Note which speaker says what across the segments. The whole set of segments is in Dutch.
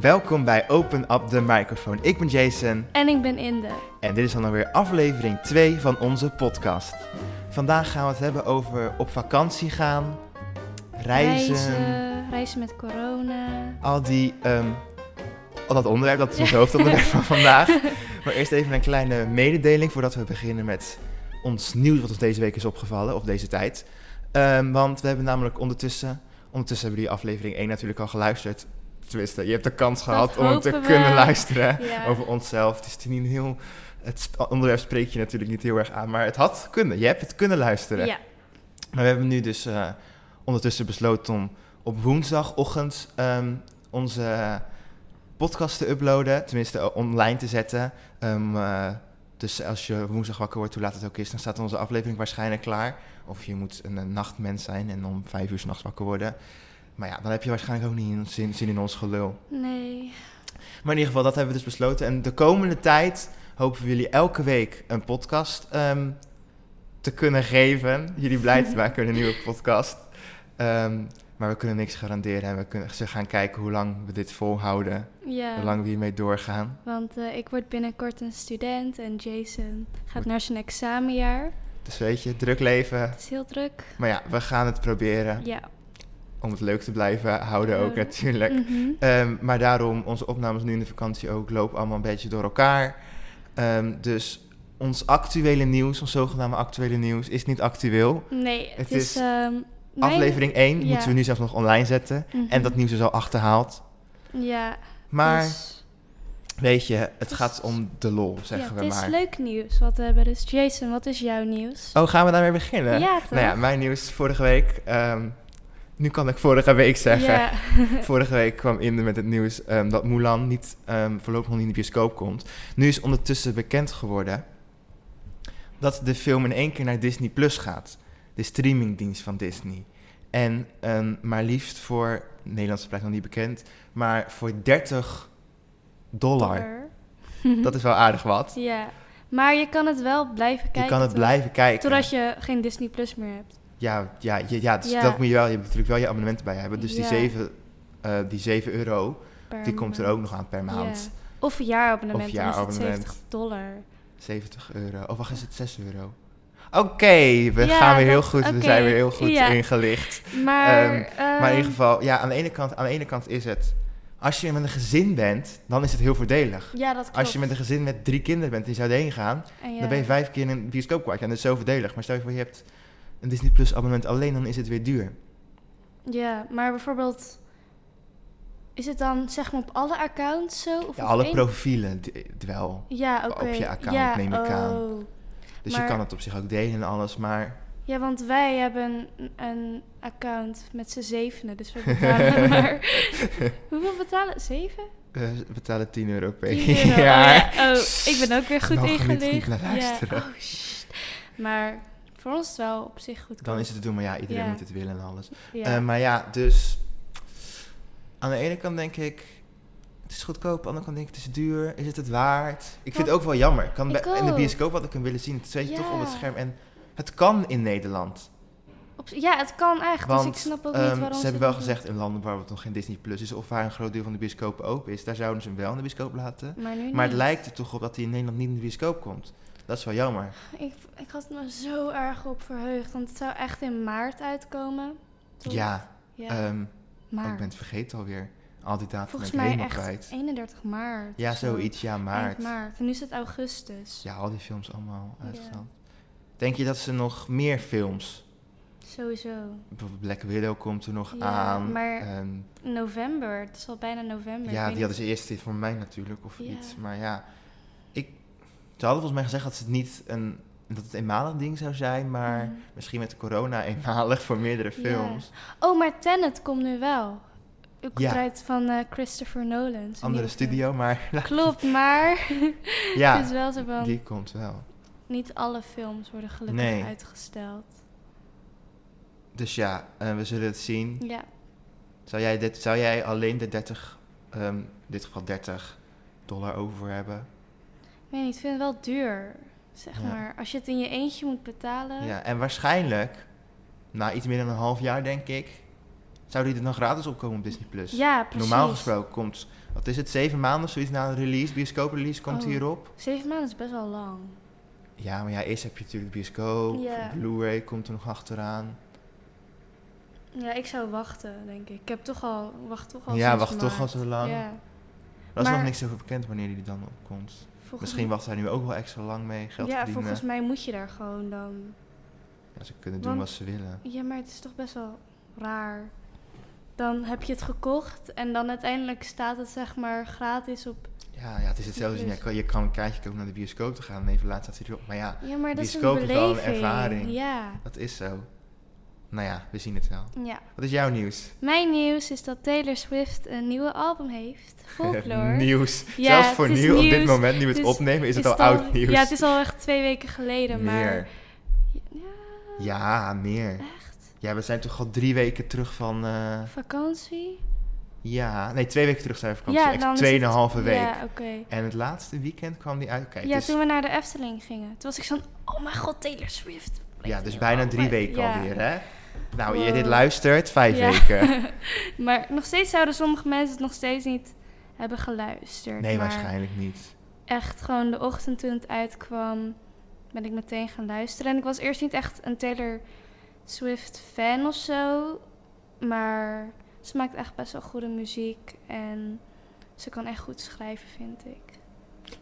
Speaker 1: Welkom bij Open Up de Microfoon. Ik ben Jason
Speaker 2: En ik ben Inde.
Speaker 1: en dit is dan alweer aflevering 2 van onze podcast. Vandaag gaan we het hebben over op vakantie gaan, reizen,
Speaker 2: Reizen, reizen met corona.
Speaker 1: al die... ehm, al dat onderwerp, dat is ons hoofdonderwerp van vandaag. Maar eerst even een kleine mededeling voordat we beginnen met ons nieuws wat ons deze week is opgevallen, op deze tijd. Ehm, want we hebben namelijk ondertussen, ondertussen hebben jullie aflevering 1 natuurlijk al geluisterd. Tenminste, je hebt de kans gehad om hem te
Speaker 2: hopen we.
Speaker 1: kunnen luisteren
Speaker 2: Ja.
Speaker 1: over onszelf. Dus het, is niet een heel, het sp- onderwerp spreekt je natuurlijk niet heel erg aan, maar het had kunnen. Je hebt het kunnen luisteren.
Speaker 2: Ja,
Speaker 1: Maar we hebben nu dus eh, ondertussen besloten om op woensdagochtend ehm, onze podcast te uploaden. Tenminste, eh, online te zetten. Ehm, eh, dus als je woensdag wakker wordt, hoe laat het ook is, dan staat onze aflevering waarschijnlijk klaar. Of je moet een, eh, nachtmens zijn en om vijf uur s'nachts wakker worden. Maar ja, dan heb je waarschijnlijk ook niet zin, zin in ons gelul.
Speaker 2: nee.
Speaker 1: Maar in ieder geval, dat hebben we dus besloten. En de komende tijd hopen we jullie elke week een podcast ehm, te kunnen geven. Jullie blij te maken met een nieuwe podcast. Ehm, maar we kunnen niks garanderen. En we kunnen, ze gaan kijken hoe lang we dit volhouden. Hoe
Speaker 2: Ja,
Speaker 1: lang we hiermee doorgaan.
Speaker 2: want eh, ik word binnenkort een student en Jason gaat naar zijn examenjaar.
Speaker 1: Dus weet je, druk leven.
Speaker 2: Het is heel druk.
Speaker 1: Maar ja, we gaan het proberen.
Speaker 2: Ja.
Speaker 1: Om het leuk te blijven houden ook
Speaker 2: Houden.
Speaker 1: natuurlijk.
Speaker 2: mhm.
Speaker 1: Ehm, maar daarom, onze opnames nu in de vakantie ook, lopen allemaal een beetje door elkaar. Ehm, dus ons actuele nieuws, ons zogenaamde actuele nieuws, is niet actueel.
Speaker 2: Nee, het,
Speaker 1: het
Speaker 2: is...
Speaker 1: is
Speaker 2: ehm, mijn-
Speaker 1: Aflevering 1
Speaker 2: ja.
Speaker 1: moeten we nu zelfs nog online zetten.
Speaker 2: Mhm.
Speaker 1: En dat nieuws is al achterhaald.
Speaker 2: Ja,
Speaker 1: Maar
Speaker 2: dus-
Speaker 1: weet je, het
Speaker 2: is-
Speaker 1: gaat om de lol,
Speaker 2: ja,
Speaker 1: zeggen we
Speaker 2: Het is
Speaker 1: maar.
Speaker 2: leuk nieuws wat we hebben. Dus Jason, wat is jouw nieuws?
Speaker 1: Oh, gaan we daarmee beginnen?
Speaker 2: ja, toch?
Speaker 1: Nou ja, mijn nieuws vorige week. ehm, nu kan ik vorige week zeggen.
Speaker 2: Ja.
Speaker 1: Vorige week kwam Inde met het nieuws ehm, dat Mulan niet, ehm, voorlopig nog niet in de bioscoop komt. Nu is ondertussen bekend geworden dat de film in één keer naar Disney Plus gaat. De streamingdienst van Disney. En ehm, maar liefst voor, Nederlandse prijs nog niet bekend, maar voor 30 dollar.
Speaker 2: Mhm.
Speaker 1: Dat is wel aardig wat.
Speaker 2: Ja, maar je kan het wel blijven kijken.
Speaker 1: Je kan het
Speaker 2: tot-
Speaker 1: blijven kijken.
Speaker 2: Totdat je geen Disney Plus meer hebt.
Speaker 1: Ja, ja, ja, ja, dus
Speaker 2: Ja.
Speaker 1: dat moet je wel. Je moet natuurlijk wel je abonnement bij hebben. Dus die,
Speaker 2: Ja.
Speaker 1: 7, eh, die 7 euro,
Speaker 2: per
Speaker 1: die komt er
Speaker 2: maand.
Speaker 1: ook nog aan per
Speaker 2: Ja.
Speaker 1: maand.
Speaker 2: Of een jaarabonnement,
Speaker 1: Of
Speaker 2: dan is het
Speaker 1: jaarabonnement.
Speaker 2: 70 dollar.
Speaker 1: 70 euro. Of wacht, is het 6 euro? Oké, we
Speaker 2: Ja,
Speaker 1: gaan weer heel
Speaker 2: dat-
Speaker 1: goed. We
Speaker 2: oké,
Speaker 1: zijn weer heel goed
Speaker 2: ja.
Speaker 1: ingelicht.
Speaker 2: Maar,
Speaker 1: Ehm,
Speaker 2: ehm,
Speaker 1: Maar in ieder geval, ja, aan de, ene kant, aan de ene kant is het... Als je met een gezin bent, dan is het heel voordelig.
Speaker 2: Ja, dat klopt.
Speaker 1: Als je met een gezin met drie kinderen bent die zou heen gaan...
Speaker 2: En ja,
Speaker 1: dan ben je vijf keer in een bioscoop kwijt. En dat is zo voordelig. Maar stel je voor, je hebt een Disney Plus abonnement alleen, dan is het weer duur.
Speaker 2: Ja, maar bijvoorbeeld... Is het dan zeg maar op alle accounts zo? Of
Speaker 1: Ja,
Speaker 2: op
Speaker 1: alle
Speaker 2: één?
Speaker 1: profielen d- wel.
Speaker 2: Ja,
Speaker 1: op
Speaker 2: oké.
Speaker 1: je account,
Speaker 2: ja,
Speaker 1: neem ik aan.
Speaker 2: oh.
Speaker 1: Dus je
Speaker 2: Maar-
Speaker 1: kan het op zich ook delen en alles, maar...
Speaker 2: Ja, want wij hebben een- een account met z'n zevenen, dus we betalen maar... Hoeveel betalen? Zeven?
Speaker 1: eh, We betalen 10 euro per
Speaker 2: 10 euro. Oh
Speaker 1: jaar.
Speaker 2: ja. Oh, ik ben ook weer goed
Speaker 1: Mogen we niet
Speaker 2: ingelicht.
Speaker 1: goed naar luisteren?
Speaker 2: Ja. Oh, sst. Maar voor ons is het wel op zich goed.
Speaker 1: Dan is het te doen, maar ja, iedereen
Speaker 2: Ja.
Speaker 1: moet het willen en alles.
Speaker 2: Ja.
Speaker 1: Eh, maar ja, dus aan de ene kant denk ik, het is goedkoop. Aan de andere kant denk ik, het is duur. Is het het waard? Ik vind
Speaker 2: Want-
Speaker 1: het ook wel jammer. Ik Kan
Speaker 2: Ik
Speaker 1: bij- in de
Speaker 2: ook.
Speaker 1: bioscoop wat ik hem willen zien, het zet je toch op het
Speaker 2: Ja.
Speaker 1: scherm. En het kan in Nederland.
Speaker 2: Op z- ja, het kan echt.
Speaker 1: want
Speaker 2: dus ik snap ook
Speaker 1: ehm,
Speaker 2: niet waarom
Speaker 1: ze hebben wel
Speaker 2: dat doen.
Speaker 1: gezegd in landen waar het nog geen Disney Plus is, of waar een groot deel van de bioscoop open is, daar zouden ze hem wel in de bioscoop laten.
Speaker 2: Maar nu
Speaker 1: Maar het
Speaker 2: niet.
Speaker 1: lijkt er toch op dat hij in Nederland niet in de bioscoop komt. Dat is wel jammer.
Speaker 2: Ik, ik had me zo erg op verheugd, want het zou echt in maart uitkomen. Toch?
Speaker 1: Ja,
Speaker 2: Ja,
Speaker 1: ehm,
Speaker 2: maar
Speaker 1: ik ben het vergeten alweer. Al die data ben
Speaker 2: volgens
Speaker 1: ik
Speaker 2: mij
Speaker 1: helemaal
Speaker 2: echt
Speaker 1: kwijt.
Speaker 2: 31 maart.
Speaker 1: Ja,
Speaker 2: of zo.
Speaker 1: zoiets. Ja,
Speaker 2: Eind
Speaker 1: maart.
Speaker 2: maart. En nu is het augustus.
Speaker 1: Ja, al die films allemaal
Speaker 2: Ja.
Speaker 1: uitgesteld. Denk je dat ze nog meer films...
Speaker 2: Sowieso.
Speaker 1: Bijvoorbeeld Black Widow komt er nog
Speaker 2: Ja,
Speaker 1: aan.
Speaker 2: maar-
Speaker 1: ehm,
Speaker 2: November. Het is al bijna november.
Speaker 1: ja,
Speaker 2: Ik weet
Speaker 1: die hadden ze eerst dit voor mij natuurlijk, of
Speaker 2: Ja.
Speaker 1: iets. Maar ja, ik... Ze hadden volgens mij gezegd dat ze het niet een... Dat het eenmalig ding zou zijn, maar
Speaker 2: Mhm.
Speaker 1: misschien met de corona eenmalig voor meerdere
Speaker 2: Ja.
Speaker 1: films.
Speaker 2: Oh, maar Tenet komt nu wel. Ik
Speaker 1: Ja.
Speaker 2: draait van eh, Christopher Nolan. zijn
Speaker 1: Andere
Speaker 2: nieuwe film.
Speaker 1: studio, maar
Speaker 2: Klopt, maar het is
Speaker 1: ja,
Speaker 2: wel zo van...
Speaker 1: die komt wel.
Speaker 2: Niet alle films worden gelukkig
Speaker 1: Nee.
Speaker 2: uitgesteld.
Speaker 1: Dus ja, eh, we zullen het zien.
Speaker 2: Ja,
Speaker 1: Zou jij, dit, zou jij alleen de 30, ehm, in dit geval 30 dollar over hebben?
Speaker 2: ik weet niet, ik vind het wel duur. Zeg
Speaker 1: Ja.
Speaker 2: maar, als je het in je eentje moet betalen...
Speaker 1: Ja, en waarschijnlijk, na iets meer dan een half jaar denk ik, zou die er dan gratis opkomen op Disney+. Plus?
Speaker 2: Ja, precies.
Speaker 1: dus Normaal gesproken komt, wat is het, zeven maanden of zoiets na een release, bioscooprelease komt
Speaker 2: Oh.
Speaker 1: hierop.
Speaker 2: Zeven maanden is best wel lang.
Speaker 1: Ja, maar ja, eerst heb je natuurlijk bioscoop,
Speaker 2: Ja.
Speaker 1: Blu-ray komt er nog achteraan.
Speaker 2: Ja, ik zou wachten, denk ik. Ik heb toch al, wacht toch al
Speaker 1: ja,
Speaker 2: sinds
Speaker 1: wacht toch al
Speaker 2: maart.
Speaker 1: zo lang.
Speaker 2: Ja,
Speaker 1: Dat is
Speaker 2: Maar-
Speaker 1: nog niks over bekend wanneer die er dan opkomt.
Speaker 2: volgens
Speaker 1: Misschien wacht hij nu ook wel extra lang mee geld
Speaker 2: Ja,
Speaker 1: verdienen.
Speaker 2: volgens mij moet je daar gewoon dan...
Speaker 1: Ja, ze kunnen doen
Speaker 2: Want-
Speaker 1: wat ze willen.
Speaker 2: Ja, maar het is toch best wel raar. Dan heb je het gekocht en dan uiteindelijk staat het zeg maar gratis op...
Speaker 1: Ja, ja het is hetzelfde. als- ja, je kan- je kan een kaartje kopen om naar de bioscoop te gaan en even later staat hij erop. Maar ja,
Speaker 2: Ja, maar dat is een
Speaker 1: Bioscoop is wel een
Speaker 2: beleving.
Speaker 1: ervaring.
Speaker 2: Ja.
Speaker 1: dat is zo. Nou ja, we zien het wel.
Speaker 2: ja.
Speaker 1: Wat is jouw nieuws?
Speaker 2: Mijn nieuws is dat Taylor Swift een nieuwe album heeft. Folklore.
Speaker 1: nieuws.
Speaker 2: Ja,
Speaker 1: Zelfs voor
Speaker 2: het is
Speaker 1: nu, op dit
Speaker 2: nieuws.
Speaker 1: moment, nu we het
Speaker 2: Dus
Speaker 1: opnemen, is het
Speaker 2: Is
Speaker 1: al oud nieuws.
Speaker 2: Ja, het is al echt twee weken geleden,
Speaker 1: meer.
Speaker 2: maar... Ja,
Speaker 1: Ja, meer.
Speaker 2: Echt?
Speaker 1: Ja, we zijn toch al drie weken terug van... eh,
Speaker 2: Vakantie?
Speaker 1: ja, nee, twee weken terug zijn we vakantie.
Speaker 2: Ja, dan
Speaker 1: Echt
Speaker 2: is
Speaker 1: tweeënhalve
Speaker 2: het-
Speaker 1: week.
Speaker 2: Ja, oké.
Speaker 1: En het laatste weekend kwam die uit. Kijk,
Speaker 2: ja,
Speaker 1: het is-
Speaker 2: toen we naar de Efteling gingen. Toen was ik zo'n, oh mijn god, Taylor Swift.
Speaker 1: ja, dus bijna drie weken
Speaker 2: Ja.
Speaker 1: alweer, hè? Nou, je
Speaker 2: Oh Wow.
Speaker 1: dit luistert, vijf
Speaker 2: Ja.
Speaker 1: weken.
Speaker 2: maar nog steeds zouden sommige mensen het nog steeds niet hebben geluisterd.
Speaker 1: Nee,
Speaker 2: maar
Speaker 1: waarschijnlijk niet.
Speaker 2: Echt gewoon de ochtend toen het uitkwam, ben ik meteen gaan luisteren. En ik was eerst niet echt een Taylor Swift fan of zo. Maar ze maakt echt best wel goede muziek. En ze kan echt goed schrijven, vind ik.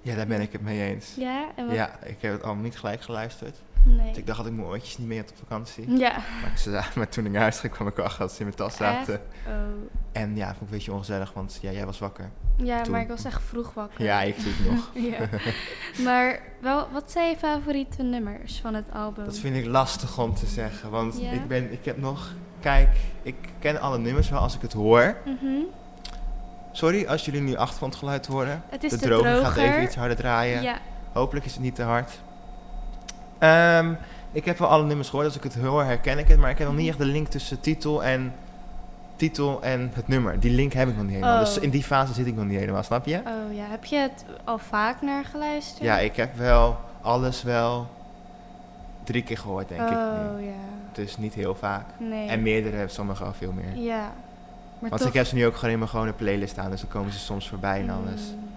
Speaker 1: Ja, daar ben ik het mee eens.
Speaker 2: Ja, en wat?
Speaker 1: Ja, ik heb het allemaal niet gelijk geluisterd.
Speaker 2: nee.
Speaker 1: Dus ik dacht dat ik mijn oortjes niet mee had op vakantie.
Speaker 2: Ja.
Speaker 1: Maar, ik ze, maar toen ik naar huis ging, kwam ik erachter dat ze in mijn tas zaten.
Speaker 2: Oh.
Speaker 1: En ja, vond ik een beetje ongezellig, want ja, jij was wakker.
Speaker 2: Ja,
Speaker 1: Toen-
Speaker 2: maar ik was echt vroeg wakker.
Speaker 1: Ja, ik doe het nog.
Speaker 2: Ja. Maar wel, wat zijn je favoriete nummers van het album?
Speaker 1: Dat vind ik lastig om te zeggen, want
Speaker 2: Ja.
Speaker 1: ik, ben, ik heb nog... Kijk, ik ken alle nummers wel als ik het hoor.
Speaker 2: Mhm.
Speaker 1: Sorry als jullie nu achtergrondgeluid horen.
Speaker 2: Het is
Speaker 1: de
Speaker 2: de,
Speaker 1: droger,
Speaker 2: droger.
Speaker 1: gaat even iets harder draaien.
Speaker 2: Ja,
Speaker 1: Hopelijk is het niet te hard. Ehm, ik heb wel alle nummers gehoord. Als ik het hoor, herken ik het. Maar ik heb nog niet echt de link tussen titel en, titel en het nummer. Die link heb ik nog niet helemaal.
Speaker 2: Oh.
Speaker 1: Dus in die fase zit ik nog niet helemaal, snap je?
Speaker 2: oh ja. Heb je het al vaak naar geluisterd?
Speaker 1: Ja, ik heb wel alles wel drie keer gehoord, denk ik.
Speaker 2: Oh
Speaker 1: nu.
Speaker 2: ja.
Speaker 1: Dus niet heel vaak.
Speaker 2: Nee.
Speaker 1: En meerdere hebben sommige al veel meer.
Speaker 2: Ja. Maar
Speaker 1: Want
Speaker 2: toch...
Speaker 1: ik heb ze nu ook gewoon in mijn gewone playlist aan. Dus dan komen ze soms voorbij en alles.
Speaker 2: Mm.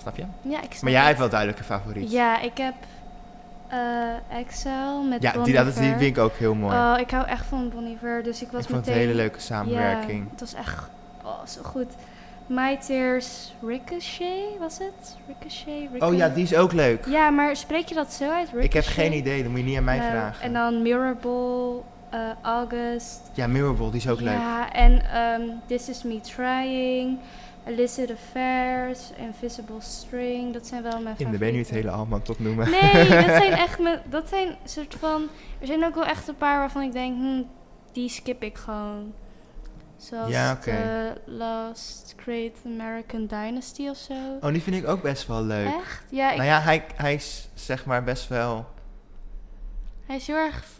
Speaker 1: Snap je?
Speaker 2: Ja, ik snap
Speaker 1: Maar jij
Speaker 2: het.
Speaker 1: hebt wel duidelijke favoriet.
Speaker 2: Ja, ik heb eh Excel met
Speaker 1: Ja,
Speaker 2: Bon
Speaker 1: die, dat, die
Speaker 2: Iver.
Speaker 1: vind ik ook heel mooi.
Speaker 2: Oh, ik hou echt van Bon Iver, dus ik was
Speaker 1: ik vond het een
Speaker 2: meteen...
Speaker 1: hele leuke samenwerking.
Speaker 2: Ja, het was echt oh, zo goed. My Tears Ricochet, was het? Ricochet, Ricochet.
Speaker 1: Oh ja, die is ook leuk.
Speaker 2: Ja, maar spreek je dat zo uit? Ricochet?
Speaker 1: Ik heb geen idee, dat moet je niet aan mij
Speaker 2: Nou,
Speaker 1: vragen.
Speaker 2: En dan Mirable, eh, August.
Speaker 1: ja, Mirrorball, die is ook leuk.
Speaker 2: Ja, en ehm, This Is Me Trying, Illicit Affairs, Invisible String. Dat zijn wel mijn
Speaker 1: In de ben je nu het
Speaker 2: favorieten.
Speaker 1: hele allemaal tot noemen.
Speaker 2: Nee, dat zijn echt mijn... Dat zijn soort van... Er zijn ook wel echt een paar waarvan ik denk... hm, die skip ik gewoon. Zoals
Speaker 1: Ja, oké.
Speaker 2: de Last Great American Dynasty of zo.
Speaker 1: Oh, die vind ik ook best wel leuk.
Speaker 2: echt? Ja, ik,
Speaker 1: Nou ja, hij, hij is zeg maar best wel...
Speaker 2: hij is heel erg v-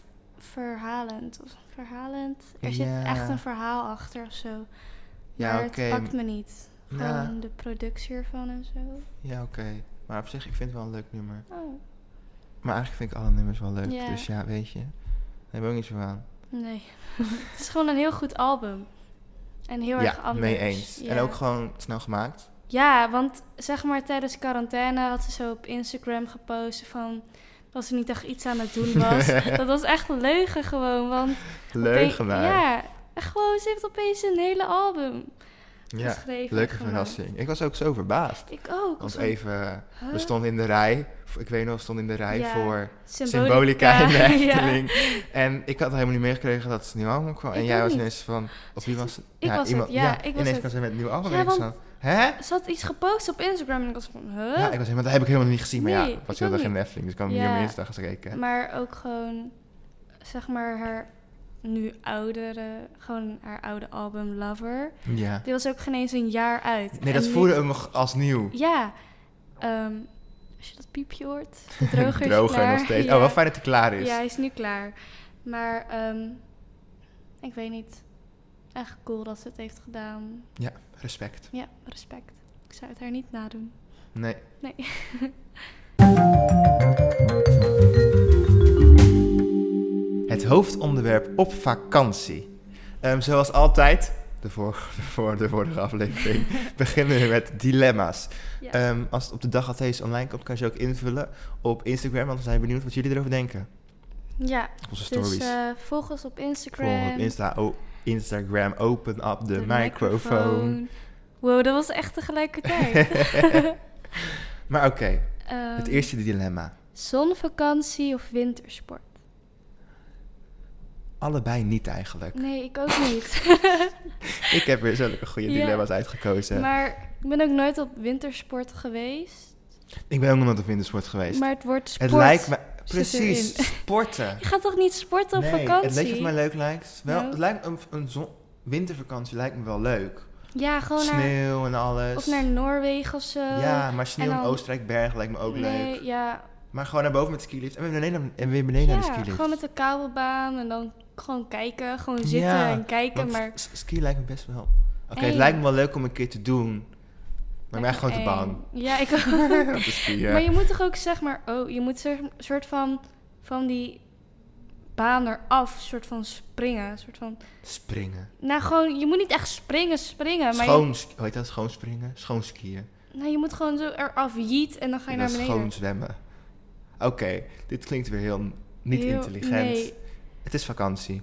Speaker 2: verhalend. Of verhalend? Er
Speaker 1: Ja.
Speaker 2: zit echt een verhaal achter of zo.
Speaker 1: Ja,
Speaker 2: maar
Speaker 1: oké.
Speaker 2: het pakt me niet. Gewoon
Speaker 1: Ja.
Speaker 2: de productie ervan en zo.
Speaker 1: Ja, oké. Maar op zich, ik vind het wel een leuk nummer.
Speaker 2: Oh,
Speaker 1: Maar eigenlijk vind ik alle nummers wel leuk.
Speaker 2: Ja.
Speaker 1: Dus ja, weet je. Daar hebben we ook niet zo aan.
Speaker 2: nee. het is gewoon een heel goed album. En heel erg
Speaker 1: ja,
Speaker 2: anders.
Speaker 1: mee eens. En
Speaker 2: Ja.
Speaker 1: ook gewoon snel gemaakt.
Speaker 2: Ja, want zeg maar tijdens quarantaine had ze zo op Instagram gepost van dat ze niet echt iets aan het doen was. dat was echt een leugen gewoon, want...
Speaker 1: Leugen
Speaker 2: ope-
Speaker 1: maar.
Speaker 2: Ja, gewoon ze heeft opeens een hele album
Speaker 1: Ja,
Speaker 2: geschreven.
Speaker 1: Leuke
Speaker 2: gewoon.
Speaker 1: verrassing. Ik was ook zo verbaasd.
Speaker 2: Ik ook.
Speaker 1: Want
Speaker 2: als
Speaker 1: even, we stonden in de rij. Ik weet nog, we stonden in de rij
Speaker 2: Ja.
Speaker 1: voor...
Speaker 2: symbolica,
Speaker 1: symbolica in de
Speaker 2: Ja.
Speaker 1: Efteling. En ik had helemaal niet meegekregen dat het nieuw album kwam. En
Speaker 2: Ik
Speaker 1: jij
Speaker 2: ook
Speaker 1: was
Speaker 2: niet.
Speaker 1: ineens van... Of wie was het?
Speaker 2: Ik was het, ja, ik was
Speaker 1: ineens
Speaker 2: het.
Speaker 1: kwam ze met een nieuw album.
Speaker 2: Ja,
Speaker 1: en ik
Speaker 2: want-
Speaker 1: zo... Hè?
Speaker 2: Ze had iets gepost op Instagram en ik was van, huh?
Speaker 1: Ja, ik was helemaal... Dat heb ik helemaal niet gezien. Maar
Speaker 2: Nee,
Speaker 1: ja, ik was
Speaker 2: ik
Speaker 1: heel
Speaker 2: ook
Speaker 1: erg in
Speaker 2: niet.
Speaker 1: de Efteling. Dus ik kan hem
Speaker 2: Ja.
Speaker 1: niet meer eens gaan spreken.
Speaker 2: Maar ook gewoon, zeg maar, haar nu oudere, gewoon haar oude album Lover.
Speaker 1: Ja.
Speaker 2: Die was ook geen eens een jaar uit.
Speaker 1: Nee,
Speaker 2: En
Speaker 1: dat
Speaker 2: nu-
Speaker 1: voelde hem nog als nieuw.
Speaker 2: Ja. ehm, als je dat piepje hoort, de droger, is klaar.
Speaker 1: nog steeds.
Speaker 2: Ja.
Speaker 1: Oh, wel fijn dat hij klaar is.
Speaker 2: Ja, hij is nu klaar. Maar ehm, ik weet niet. Echt cool dat ze het heeft gedaan.
Speaker 1: Respect.
Speaker 2: Ja, respect. Ik zou het haar niet nadoen.
Speaker 1: Nee.
Speaker 2: Nee.
Speaker 1: Het hoofdonderwerp op vakantie. Ehm, zoals altijd, de vorige, voor de vorige aflevering, beginnen we met dilemma's.
Speaker 2: Ja.
Speaker 1: Ehm, als het op de dag dat deze online komt, kan je ze ook invullen op Instagram. Want we zijn benieuwd wat jullie erover denken.
Speaker 2: ja,
Speaker 1: Op Onze stories.
Speaker 2: dus eh volg ons op Instagram.
Speaker 1: Volg op Insta, oh, Instagram, open up de, microfoon.
Speaker 2: Wow, dat was echt tegelijkertijd.
Speaker 1: maar oké,
Speaker 2: Ehm,
Speaker 1: het eerste dilemma.
Speaker 2: Zonvakantie of wintersport?
Speaker 1: Allebei niet eigenlijk.
Speaker 2: Nee, ik ook niet.
Speaker 1: Ik heb weer zulke goede
Speaker 2: Ja.
Speaker 1: dilemma's uitgekozen.
Speaker 2: maar ik ben ook nooit op wintersport geweest.
Speaker 1: Ik ben ook nog nooit op wintersport geweest.
Speaker 2: Maar het wordt sport.
Speaker 1: het lijkt me...
Speaker 2: zit
Speaker 1: Precies,
Speaker 2: erin.
Speaker 1: sporten.
Speaker 2: Je gaat toch niet sporten op
Speaker 1: nee,
Speaker 2: vakantie?
Speaker 1: En weet je wat mij leuk lijkt? Wel,
Speaker 2: Nou?
Speaker 1: het lijkt me een, een zon- wintervakantie lijkt me wel leuk.
Speaker 2: Ja, gewoon naar,
Speaker 1: Sneeuw en alles.
Speaker 2: of naar Noorwegen of zo.
Speaker 1: ja, maar sneeuw
Speaker 2: en
Speaker 1: in
Speaker 2: dan-
Speaker 1: Oostenrijk, berg lijkt me ook
Speaker 2: nee,
Speaker 1: leuk.
Speaker 2: Ja,
Speaker 1: Maar gewoon naar boven met de skilift en weer beneden, en weer beneden naar de
Speaker 2: ja
Speaker 1: skilift.
Speaker 2: gewoon met de kabelbaan en dan gewoon kijken. Gewoon zitten
Speaker 1: Ja,
Speaker 2: en kijken.
Speaker 1: Want
Speaker 2: Maar
Speaker 1: s- ski lijkt me best wel. Oké, het
Speaker 2: Eng.
Speaker 1: lijkt me wel leuk om een keer te doen. Maar ik ben gewoon te
Speaker 2: eng.
Speaker 1: bang.
Speaker 2: Ja, ik ook.
Speaker 1: Op de ski, ja.
Speaker 2: Maar je moet toch ook zeg maar, oh, je moet een soort van, van die baan eraf, soort van springen. Soort van,
Speaker 1: Springen.
Speaker 2: nou gewoon, je moet niet echt springen, springen. Maar
Speaker 1: Schoon, sk- hoe heet dat? Schoon springen? Schoon skiën.
Speaker 2: Je, nou, je moet gewoon zo eraf jiet en dan ga je
Speaker 1: En
Speaker 2: naar
Speaker 1: dan
Speaker 2: beneden.
Speaker 1: schoon zwemmen. Oké, dit klinkt weer heel n- niet
Speaker 2: Heel-
Speaker 1: intelligent.
Speaker 2: Nee,
Speaker 1: Het is vakantie.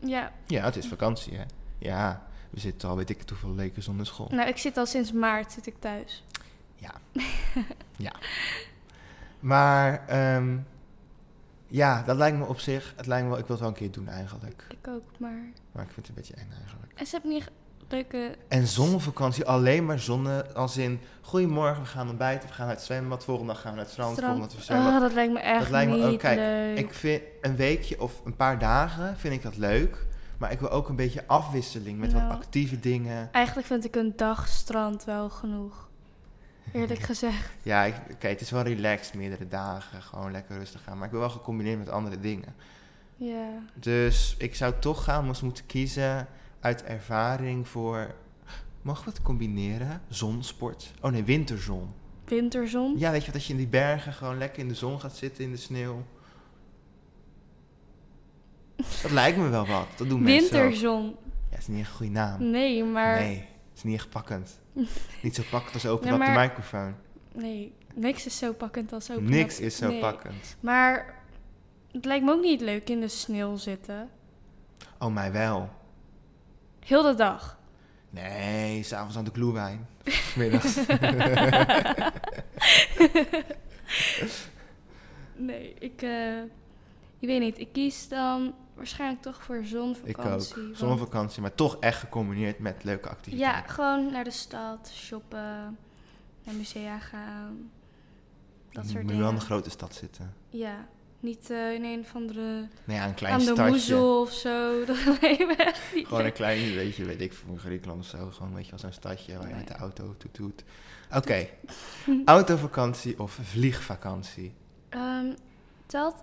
Speaker 2: ja.
Speaker 1: Ja, het is vakantie, hè. Ja, we zitten al weet ik het hoeveel weken zonder school.
Speaker 2: Nou, ik zit al sinds maart zit ik thuis.
Speaker 1: Maar, ehm, ja, dat lijkt me op zich. Het lijkt me wel, ik wil het wel een keer doen eigenlijk.
Speaker 2: Ik ook, maar...
Speaker 1: Maar ik vind het een beetje eng eigenlijk.
Speaker 2: En ze hebben niet leuke...
Speaker 1: En zonnevakantie, alleen maar zonne. Als in, goedemorgen, we gaan ontbijten, we gaan naar het zwembad. Volgende dag gaan we naar het strand,
Speaker 2: strand-
Speaker 1: volgende dag naar het
Speaker 2: Oh, dat lijkt me echt
Speaker 1: Dat lijkt me
Speaker 2: niet
Speaker 1: ook- kijk,
Speaker 2: leuk.
Speaker 1: Ik vind een weekje of een paar dagen vind ik dat leuk. Maar ik wil ook een beetje afwisseling met wat
Speaker 2: Nou.
Speaker 1: actieve dingen.
Speaker 2: Eigenlijk vind ik een dag strand wel genoeg. Eerlijk gezegd.
Speaker 1: Ja, ik- oké, het is wel relaxed, meerdere dagen. Gewoon lekker rustig gaan. Maar ik wil wel gecombineerd met andere dingen.
Speaker 2: Ja.
Speaker 1: Dus ik zou toch gaan moest moeten kiezen uit ervaring voor... Mag wat combineren? Zonsport? Oh nee, winterzon.
Speaker 2: Winterzon.
Speaker 1: Ja, weet je wat, als je in die bergen gewoon lekker in de zon gaat zitten, in de sneeuw. Dat lijkt me wel wat. Dat doen mensen ook.
Speaker 2: Winterzon.
Speaker 1: Ja, het is niet echt een goede naam.
Speaker 2: Nee, maar...
Speaker 1: Nee, het is niet echt pakkend. niet zo pakkend als open
Speaker 2: Nee,
Speaker 1: op de
Speaker 2: maar-
Speaker 1: microfoon.
Speaker 2: Nee, niks is zo pakkend als open.
Speaker 1: Niks
Speaker 2: up.
Speaker 1: is zo
Speaker 2: Nee.
Speaker 1: pakkend.
Speaker 2: Maar het lijkt me ook niet leuk in de sneeuw zitten.
Speaker 1: Oh, mij wel.
Speaker 2: Heel de dag.
Speaker 1: Nee, s'avonds aan de gloewijn. 's Middags.
Speaker 2: Nee, ik... eh, ik weet niet. Ik kies dan waarschijnlijk toch voor
Speaker 1: ik ook.
Speaker 2: zonvakantie. want-
Speaker 1: Zonvakantie, maar toch echt gecombineerd met leuke activiteiten.
Speaker 2: Ja, gewoon naar de stad, shoppen, naar musea gaan. Dat soort
Speaker 1: Moet je wel in
Speaker 2: dingen.
Speaker 1: een grote stad zitten.
Speaker 2: Ja, niet eh, in een van de...
Speaker 1: Nee, ja, een klein
Speaker 2: Aan de
Speaker 1: stadje.
Speaker 2: moezel of zo. Dat lijkt me echt niet
Speaker 1: Gewoon een
Speaker 2: leuk.
Speaker 1: klein, weet je, weet ik veel, Griekenland of zo. Gewoon, weet je, als een stadje waar je met de auto toet toet. Oké, autovakantie of vliegvakantie?
Speaker 2: Ehm, telt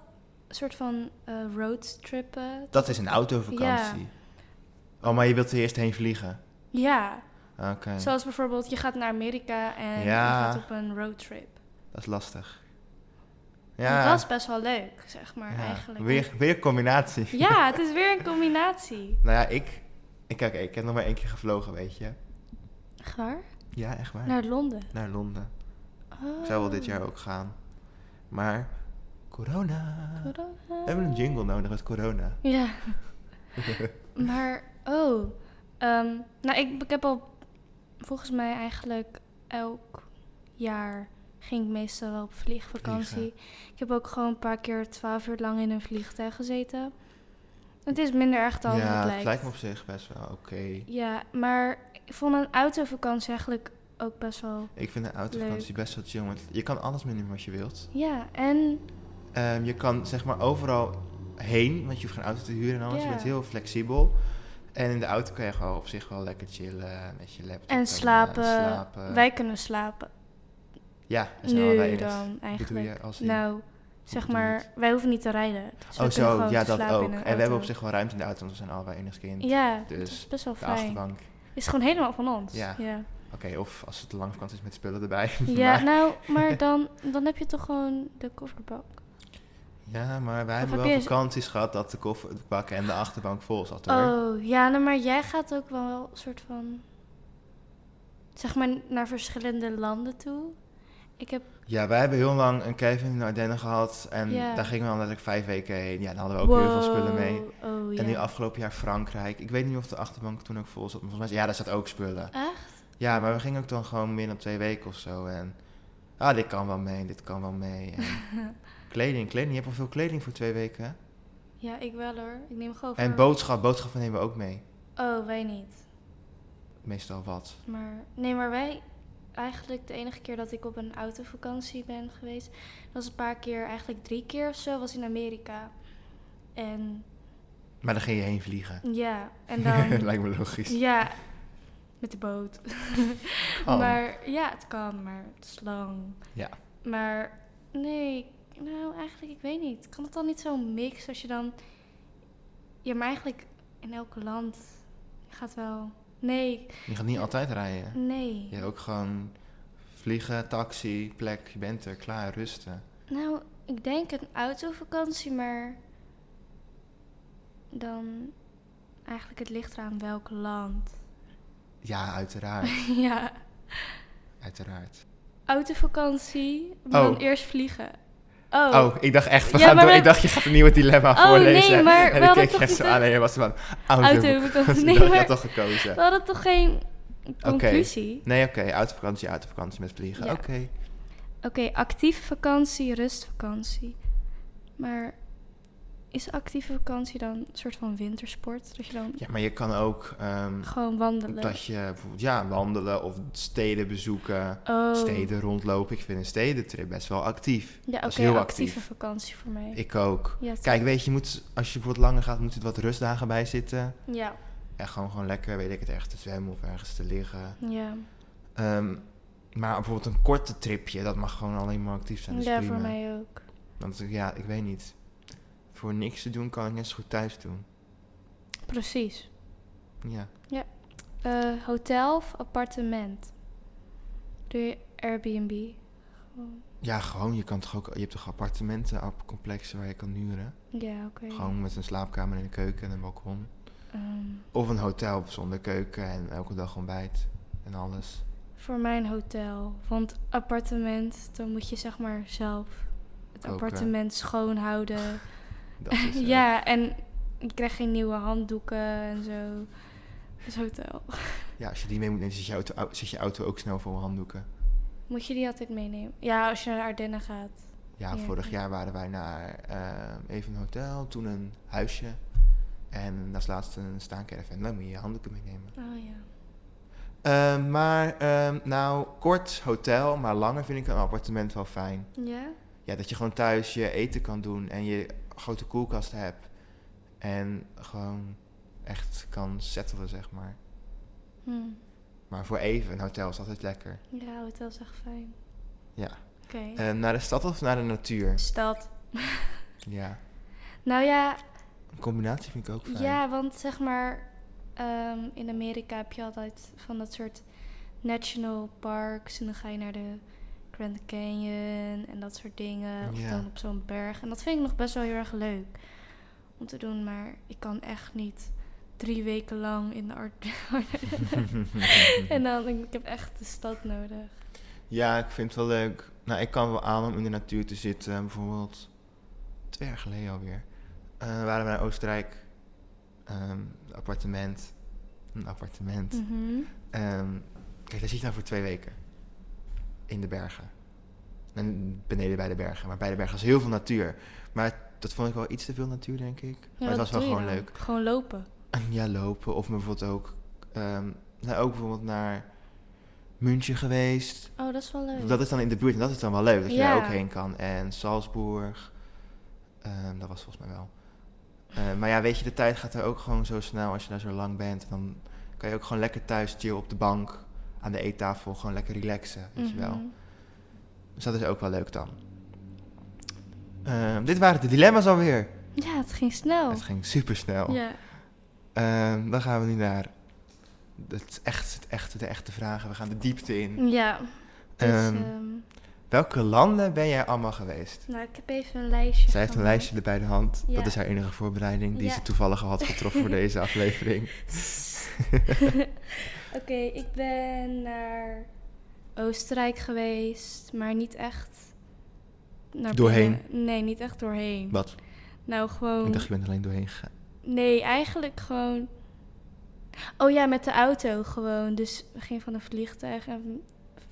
Speaker 2: een soort van eh, roadtrippen?
Speaker 1: Dat is een autovakantie. Oh, maar je wilt er eerst heen vliegen?
Speaker 2: Ja,
Speaker 1: Oké,
Speaker 2: zoals bijvoorbeeld je gaat naar Amerika en
Speaker 1: Ja.
Speaker 2: je gaat op een roadtrip.
Speaker 1: dat is lastig.
Speaker 2: Ja.
Speaker 1: Ja,
Speaker 2: Dat is best wel leuk, zeg maar,
Speaker 1: ja,
Speaker 2: eigenlijk.
Speaker 1: Weer, weer combinatie.
Speaker 2: Ja, het is weer een combinatie.
Speaker 1: Nou ja, ik, ik, kijk, ik heb nog maar één keer gevlogen, weet je.
Speaker 2: Echt waar?
Speaker 1: Ja, echt waar.
Speaker 2: Naar Londen.
Speaker 1: Naar Londen.
Speaker 2: Oh.
Speaker 1: Ik zou wel dit jaar ook gaan. Maar, corona.
Speaker 2: Corona.
Speaker 1: We hebben een jingle nodig met corona.
Speaker 2: Ja. maar, oh. ehm, nou, ik, ik heb al volgens mij eigenlijk elk jaar ging ik meestal wel op vliegvakantie. Ik heb ook gewoon een paar keer twaalf uur lang in een vliegtuig gezeten. Het is minder erg dan
Speaker 1: ja,
Speaker 2: het lijkt.
Speaker 1: het lijkt me op zich best wel oké.
Speaker 2: Ja, maar ik vond een autovakantie eigenlijk ook best wel...
Speaker 1: Ik vind een autovakantie best wel chill, want je kan alles meenemen wat je wilt.
Speaker 2: Ja, en
Speaker 1: Ehm, je kan zeg maar overal heen, want je hoeft geen auto te huren en alles. Je
Speaker 2: Ja.
Speaker 1: bent heel flexibel. En in de auto kan je gewoon op zich wel lekker chillen met je laptop.
Speaker 2: En slapen.
Speaker 1: eh, slapen.
Speaker 2: wij kunnen slapen.
Speaker 1: ja, dat zijn allebei
Speaker 2: Nu
Speaker 1: eens.
Speaker 2: dan,
Speaker 1: Dit doe
Speaker 2: eigenlijk.
Speaker 1: je als in-
Speaker 2: Nou, zeg
Speaker 1: doe je
Speaker 2: maar, wij hoeven niet te rijden. Dus we
Speaker 1: oh
Speaker 2: kunnen
Speaker 1: zo,
Speaker 2: gewoon
Speaker 1: ja
Speaker 2: te
Speaker 1: dat
Speaker 2: slapen
Speaker 1: ook.
Speaker 2: in
Speaker 1: En
Speaker 2: een
Speaker 1: we hebben op
Speaker 2: auto.
Speaker 1: zich wel ruimte in de auto, want we zijn allebei enigszins kind.
Speaker 2: Ja, dat
Speaker 1: Dus
Speaker 2: is best wel
Speaker 1: de
Speaker 2: fijn.
Speaker 1: achterbank.
Speaker 2: is gewoon helemaal van ons.
Speaker 1: Ja.
Speaker 2: ja.
Speaker 1: Oké, of als het te lang vakantie is met spullen erbij.
Speaker 2: Ja,
Speaker 1: Maar-
Speaker 2: nou, maar dan, dan heb je toch gewoon de kofferbak.
Speaker 1: Ja, maar wij
Speaker 2: heb
Speaker 1: hebben
Speaker 2: je
Speaker 1: wel
Speaker 2: eens-
Speaker 1: vakanties gehad dat de kofferbak en de achterbank vol zat hoor.
Speaker 2: Oh, ja, nou, maar jij gaat ook wel een soort van... Zeg maar naar verschillende landen toe. Ik heb...
Speaker 1: Ja, wij hebben heel lang een cave in de Ardennen gehad. En
Speaker 2: Ja.
Speaker 1: daar gingen we dan letterlijk vijf weken heen. Ja, daar hadden we ook heel veel spullen mee.
Speaker 2: Wow, Oh, ja.
Speaker 1: En nu afgelopen jaar Frankrijk. Ik weet niet of de achterbank toen ook vol zat. Maar volgens mij, ja, daar zat ook spullen.
Speaker 2: Echt?
Speaker 1: Ja, maar we gingen ook dan gewoon meer dan twee weken of zo. En ah, dit kan wel mee, dit kan wel mee. En kleding, kleding. Je hebt al veel kleding voor twee weken. hè?
Speaker 2: Ja, ik wel hoor. Ik neem gewoon
Speaker 1: En boodschap, boodschappen nemen we ook mee.
Speaker 2: Oh, wij niet.
Speaker 1: Meestal wat.
Speaker 2: Maar nee, maar wij eigenlijk de enige keer dat ik op een autovakantie ben geweest, dat was een paar keer, eigenlijk drie keer of zo, was in Amerika. En
Speaker 1: Maar dan ging je heen vliegen.
Speaker 2: ja, en dan
Speaker 1: Lijkt me logisch.
Speaker 2: ja, met de boot.
Speaker 1: Oh.
Speaker 2: Maar ja, het kan, maar het is lang.
Speaker 1: Ja.
Speaker 2: Maar nee, nou eigenlijk, ik weet niet. Kan het dan niet zo'n mix als je dan. Ja, maar eigenlijk in elk land gaat wel. Nee,
Speaker 1: Je gaat niet altijd rijden.
Speaker 2: nee.
Speaker 1: Ja, ook gewoon vliegen, taxi, plek, je bent er, klaar, rusten.
Speaker 2: Nou, ik denk een autovakantie, maar dan eigenlijk het ligt eraan welk land.
Speaker 1: Ja, uiteraard,
Speaker 2: ja,
Speaker 1: uiteraard.
Speaker 2: autovakantie, maar dan
Speaker 1: Oh.
Speaker 2: eerst vliegen. Oh,
Speaker 1: Oh, ik dacht echt, we
Speaker 2: Ja,
Speaker 1: gaan
Speaker 2: maar
Speaker 1: door.
Speaker 2: we-
Speaker 1: Ik dacht, je gaat een nieuwe dilemma
Speaker 2: Oh,
Speaker 1: voorlezen.
Speaker 2: nee, maar we
Speaker 1: en ik
Speaker 2: hadden
Speaker 1: keek je
Speaker 2: toch
Speaker 1: echt zo
Speaker 2: niet
Speaker 1: aan en je was van, auto. Nee,
Speaker 2: autovakantie. Nee,
Speaker 1: dat
Speaker 2: maar
Speaker 1: had toch gekozen.
Speaker 2: we hadden toch geen conclusie?
Speaker 1: Nee, oké, autovakantie, autovakantie met vliegen.
Speaker 2: Ja.
Speaker 1: Oké.
Speaker 2: Oké, actieve vakantie, rustvakantie. Maar is actieve vakantie dan een soort van wintersport? Dat je dan
Speaker 1: Ja, maar je kan ook ehm,
Speaker 2: gewoon wandelen?
Speaker 1: dat je bijvoorbeeld ja, wandelen of steden bezoeken,
Speaker 2: oh.
Speaker 1: steden rondlopen. Ik vind een stedentrip best wel actief.
Speaker 2: Ja, oké,
Speaker 1: Dat is heel
Speaker 2: actieve
Speaker 1: actief.
Speaker 2: vakantie voor mij.
Speaker 1: Ik ook.
Speaker 2: Ja, toch?
Speaker 1: Kijk, weet je, je moet, als je bijvoorbeeld langer gaat, moet er wat rustdagen bij zitten.
Speaker 2: Ja,
Speaker 1: En gewoon, gewoon lekker, weet ik het, ergens te zwemmen of ergens te liggen.
Speaker 2: ja.
Speaker 1: Ehm, maar bijvoorbeeld een korte tripje, dat mag gewoon alleen maar actief zijn. Dat is
Speaker 2: ja
Speaker 1: prima.
Speaker 2: voor mij ook.
Speaker 1: Want ja, ik weet niet. Voor niks te doen kan ik net zo goed thuis doen.
Speaker 2: Precies.
Speaker 1: Ja.
Speaker 2: Eh, hotel of appartement? Doe je Airbnb? Gewoon-
Speaker 1: Ja, gewoon. Je, kan toch ook, je hebt toch appartementen, app- complexen waar je kan huren?
Speaker 2: Ja, oké.
Speaker 1: Gewoon met een slaapkamer en een keuken en een balkon.
Speaker 2: Ehm,
Speaker 1: Of een hotel zonder keuken en elke dag ontbijt en alles.
Speaker 2: voor mijn hotel. Want appartement, dan moet je zeg maar zelf het
Speaker 1: Koken.
Speaker 2: appartement schoonhouden.
Speaker 1: Dat is eh, het.
Speaker 2: ja, en je krijgt geen nieuwe handdoeken en zo. Dus hotel.
Speaker 1: ja, als je die mee moet nemen, zit je auto, au- zit je auto ook snel vol handdoeken.
Speaker 2: Moet je die altijd meenemen? Ja, als je naar de Ardennen gaat.
Speaker 1: Ja,
Speaker 2: Ja.
Speaker 1: vorig jaar waren wij naar eh, even een hotel, toen een huisje. En als laatste een staankerven. Dan moet je je handdoeken meenemen.
Speaker 2: Oh ja.
Speaker 1: Eh, maar ehm, nou, kort hotel, maar langer vind ik een appartement wel fijn.
Speaker 2: Ja?
Speaker 1: Ja, dat je gewoon thuis je eten kan doen en je grote koelkast hebt. En gewoon echt kan settelen, zeg maar.
Speaker 2: Hm.
Speaker 1: Maar voor even, een hotel is altijd lekker.
Speaker 2: Ja, hotel is echt fijn.
Speaker 1: Ja.
Speaker 2: Oké.
Speaker 1: Eh, naar de stad of naar de natuur?
Speaker 2: Stad.
Speaker 1: Ja.
Speaker 2: Nou ja,
Speaker 1: Een combinatie vind ik ook fijn.
Speaker 2: ja, want zeg maar ehm, in Amerika heb je altijd van dat soort national parks en dan ga je naar de Grand Canyon en dat soort dingen of
Speaker 1: Ja.
Speaker 2: dan op zo'n berg en dat vind ik nog best wel heel erg leuk om te doen, maar ik kan echt niet drie weken lang in de art en dan ik heb echt de stad nodig.
Speaker 1: Ja, ik vind het wel leuk. Nou, ik kan wel aan om in de natuur te zitten. Bijvoorbeeld twee jaar geleden alweer. eh, waren we naar Oostenrijk. Ehm, appartement. Een appartement.
Speaker 2: Mhm.
Speaker 1: Ehm, kijk, daar zit je nou voor twee weken. In de bergen. En beneden bij de bergen. Maar bij de bergen was heel veel natuur. Maar dat vond ik wel iets te veel natuur, denk ik. maar
Speaker 2: Ja,
Speaker 1: het
Speaker 2: wat
Speaker 1: was wel
Speaker 2: doe je
Speaker 1: gewoon
Speaker 2: dan?
Speaker 1: leuk.
Speaker 2: Gewoon lopen.
Speaker 1: Ja, lopen. Of bijvoorbeeld ook... ehm, nou, ook bijvoorbeeld naar München geweest.
Speaker 2: Oh, dat is wel leuk.
Speaker 1: Dat is dan in de buurt en dat is dan wel leuk dat je daar
Speaker 2: Ja.
Speaker 1: ook heen kan. En Salzburg, ehm, dat was volgens mij wel. Eh, maar ja, weet je, de tijd gaat er ook gewoon zo snel als je daar zo lang bent. En dan kan je ook gewoon lekker thuis chillen op de bank, aan de eettafel, gewoon lekker relaxen, weet je wel.
Speaker 2: Mhm.
Speaker 1: Dus dat is ook wel leuk dan. Ehm, dit waren de dilemma's alweer.
Speaker 2: Ja, het ging snel.
Speaker 1: Het ging super snel.
Speaker 2: Oh. Ja.
Speaker 1: dan gaan we nu naar
Speaker 2: Mm,
Speaker 1: het echt, het echte, de echte vragen. We gaan de diepte in.
Speaker 2: Ja. Dus,
Speaker 1: Ehm,
Speaker 2: ehm,
Speaker 1: Welke landen ben jij allemaal geweest?
Speaker 2: Nou, ik heb even een lijstje.
Speaker 1: Zij heeft een
Speaker 2: gemaakt.
Speaker 1: lijstje erbij de hand.
Speaker 2: Ja.
Speaker 1: Dat is haar enige voorbereiding die
Speaker 2: Ja.
Speaker 1: ze toevallig had getroffen voor deze aflevering.
Speaker 2: Oké, ik ben naar Oostenrijk geweest, maar niet echt naar
Speaker 1: Doorheen?
Speaker 2: binnen. Nee, niet echt doorheen.
Speaker 1: Wat?
Speaker 2: Nou, gewoon.
Speaker 1: Ik dacht, je bent alleen doorheen gegaan.
Speaker 2: Nee, eigenlijk gewoon. Oh ja, met de auto gewoon. Dus we gingen van een vliegtuig en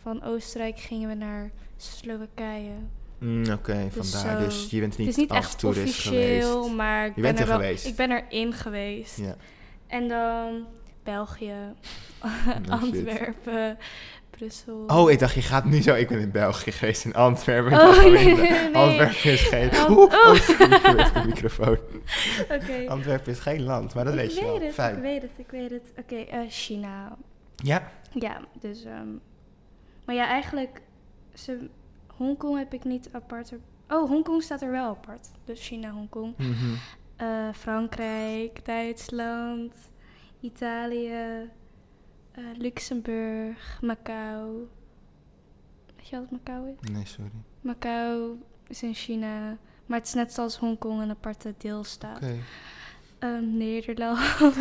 Speaker 2: van Oostenrijk gingen we naar Slowakije.
Speaker 1: Mm, Oké,
Speaker 2: Dus
Speaker 1: vandaar.
Speaker 2: zo.
Speaker 1: Dus je bent
Speaker 2: Het is
Speaker 1: niet,
Speaker 2: niet
Speaker 1: als
Speaker 2: echt
Speaker 1: toerist
Speaker 2: officieel,
Speaker 1: dus geweest.
Speaker 2: maar ik ben
Speaker 1: bent
Speaker 2: er
Speaker 1: er
Speaker 2: wel,
Speaker 1: geweest.
Speaker 2: Ik ben erin geweest.
Speaker 1: Ja.
Speaker 2: En dan België,
Speaker 1: shit.
Speaker 2: Antwerpen, Brussel.
Speaker 1: Oh, ik dacht, je gaat nu zo. Ik ben in België geweest, in Antwerpen. Ik
Speaker 2: Oh,
Speaker 1: dacht,
Speaker 2: nee,
Speaker 1: in-
Speaker 2: nee, nee.
Speaker 1: Antwerpen is geen.
Speaker 2: Ant-
Speaker 1: Oeh,
Speaker 2: oh.
Speaker 1: oh, sorry, ik de microfoon.
Speaker 2: Oké.
Speaker 1: Antwerpen is geen land, maar Oh, dat
Speaker 2: ik
Speaker 1: weet je wel.
Speaker 2: weet het,
Speaker 1: Fijn.
Speaker 2: ik weet het, ik weet het. Oké, eh, China.
Speaker 1: Ja,
Speaker 2: Ja, dus... ehm, maar ja, eigenlijk... Ze, Hongkong heb ik niet apart... er- Oh, Hongkong staat er wel apart. Dus China, Hongkong.
Speaker 1: mhm.
Speaker 2: Eh, Frankrijk, Duitsland, Italië, eh, Luxemburg, Macau. Weet je wat Macau is?
Speaker 1: nee, sorry.
Speaker 2: Macau is in China. Maar het is net zoals Hongkong een aparte deelstaat.
Speaker 1: Oké.
Speaker 2: Ehm, Nederland.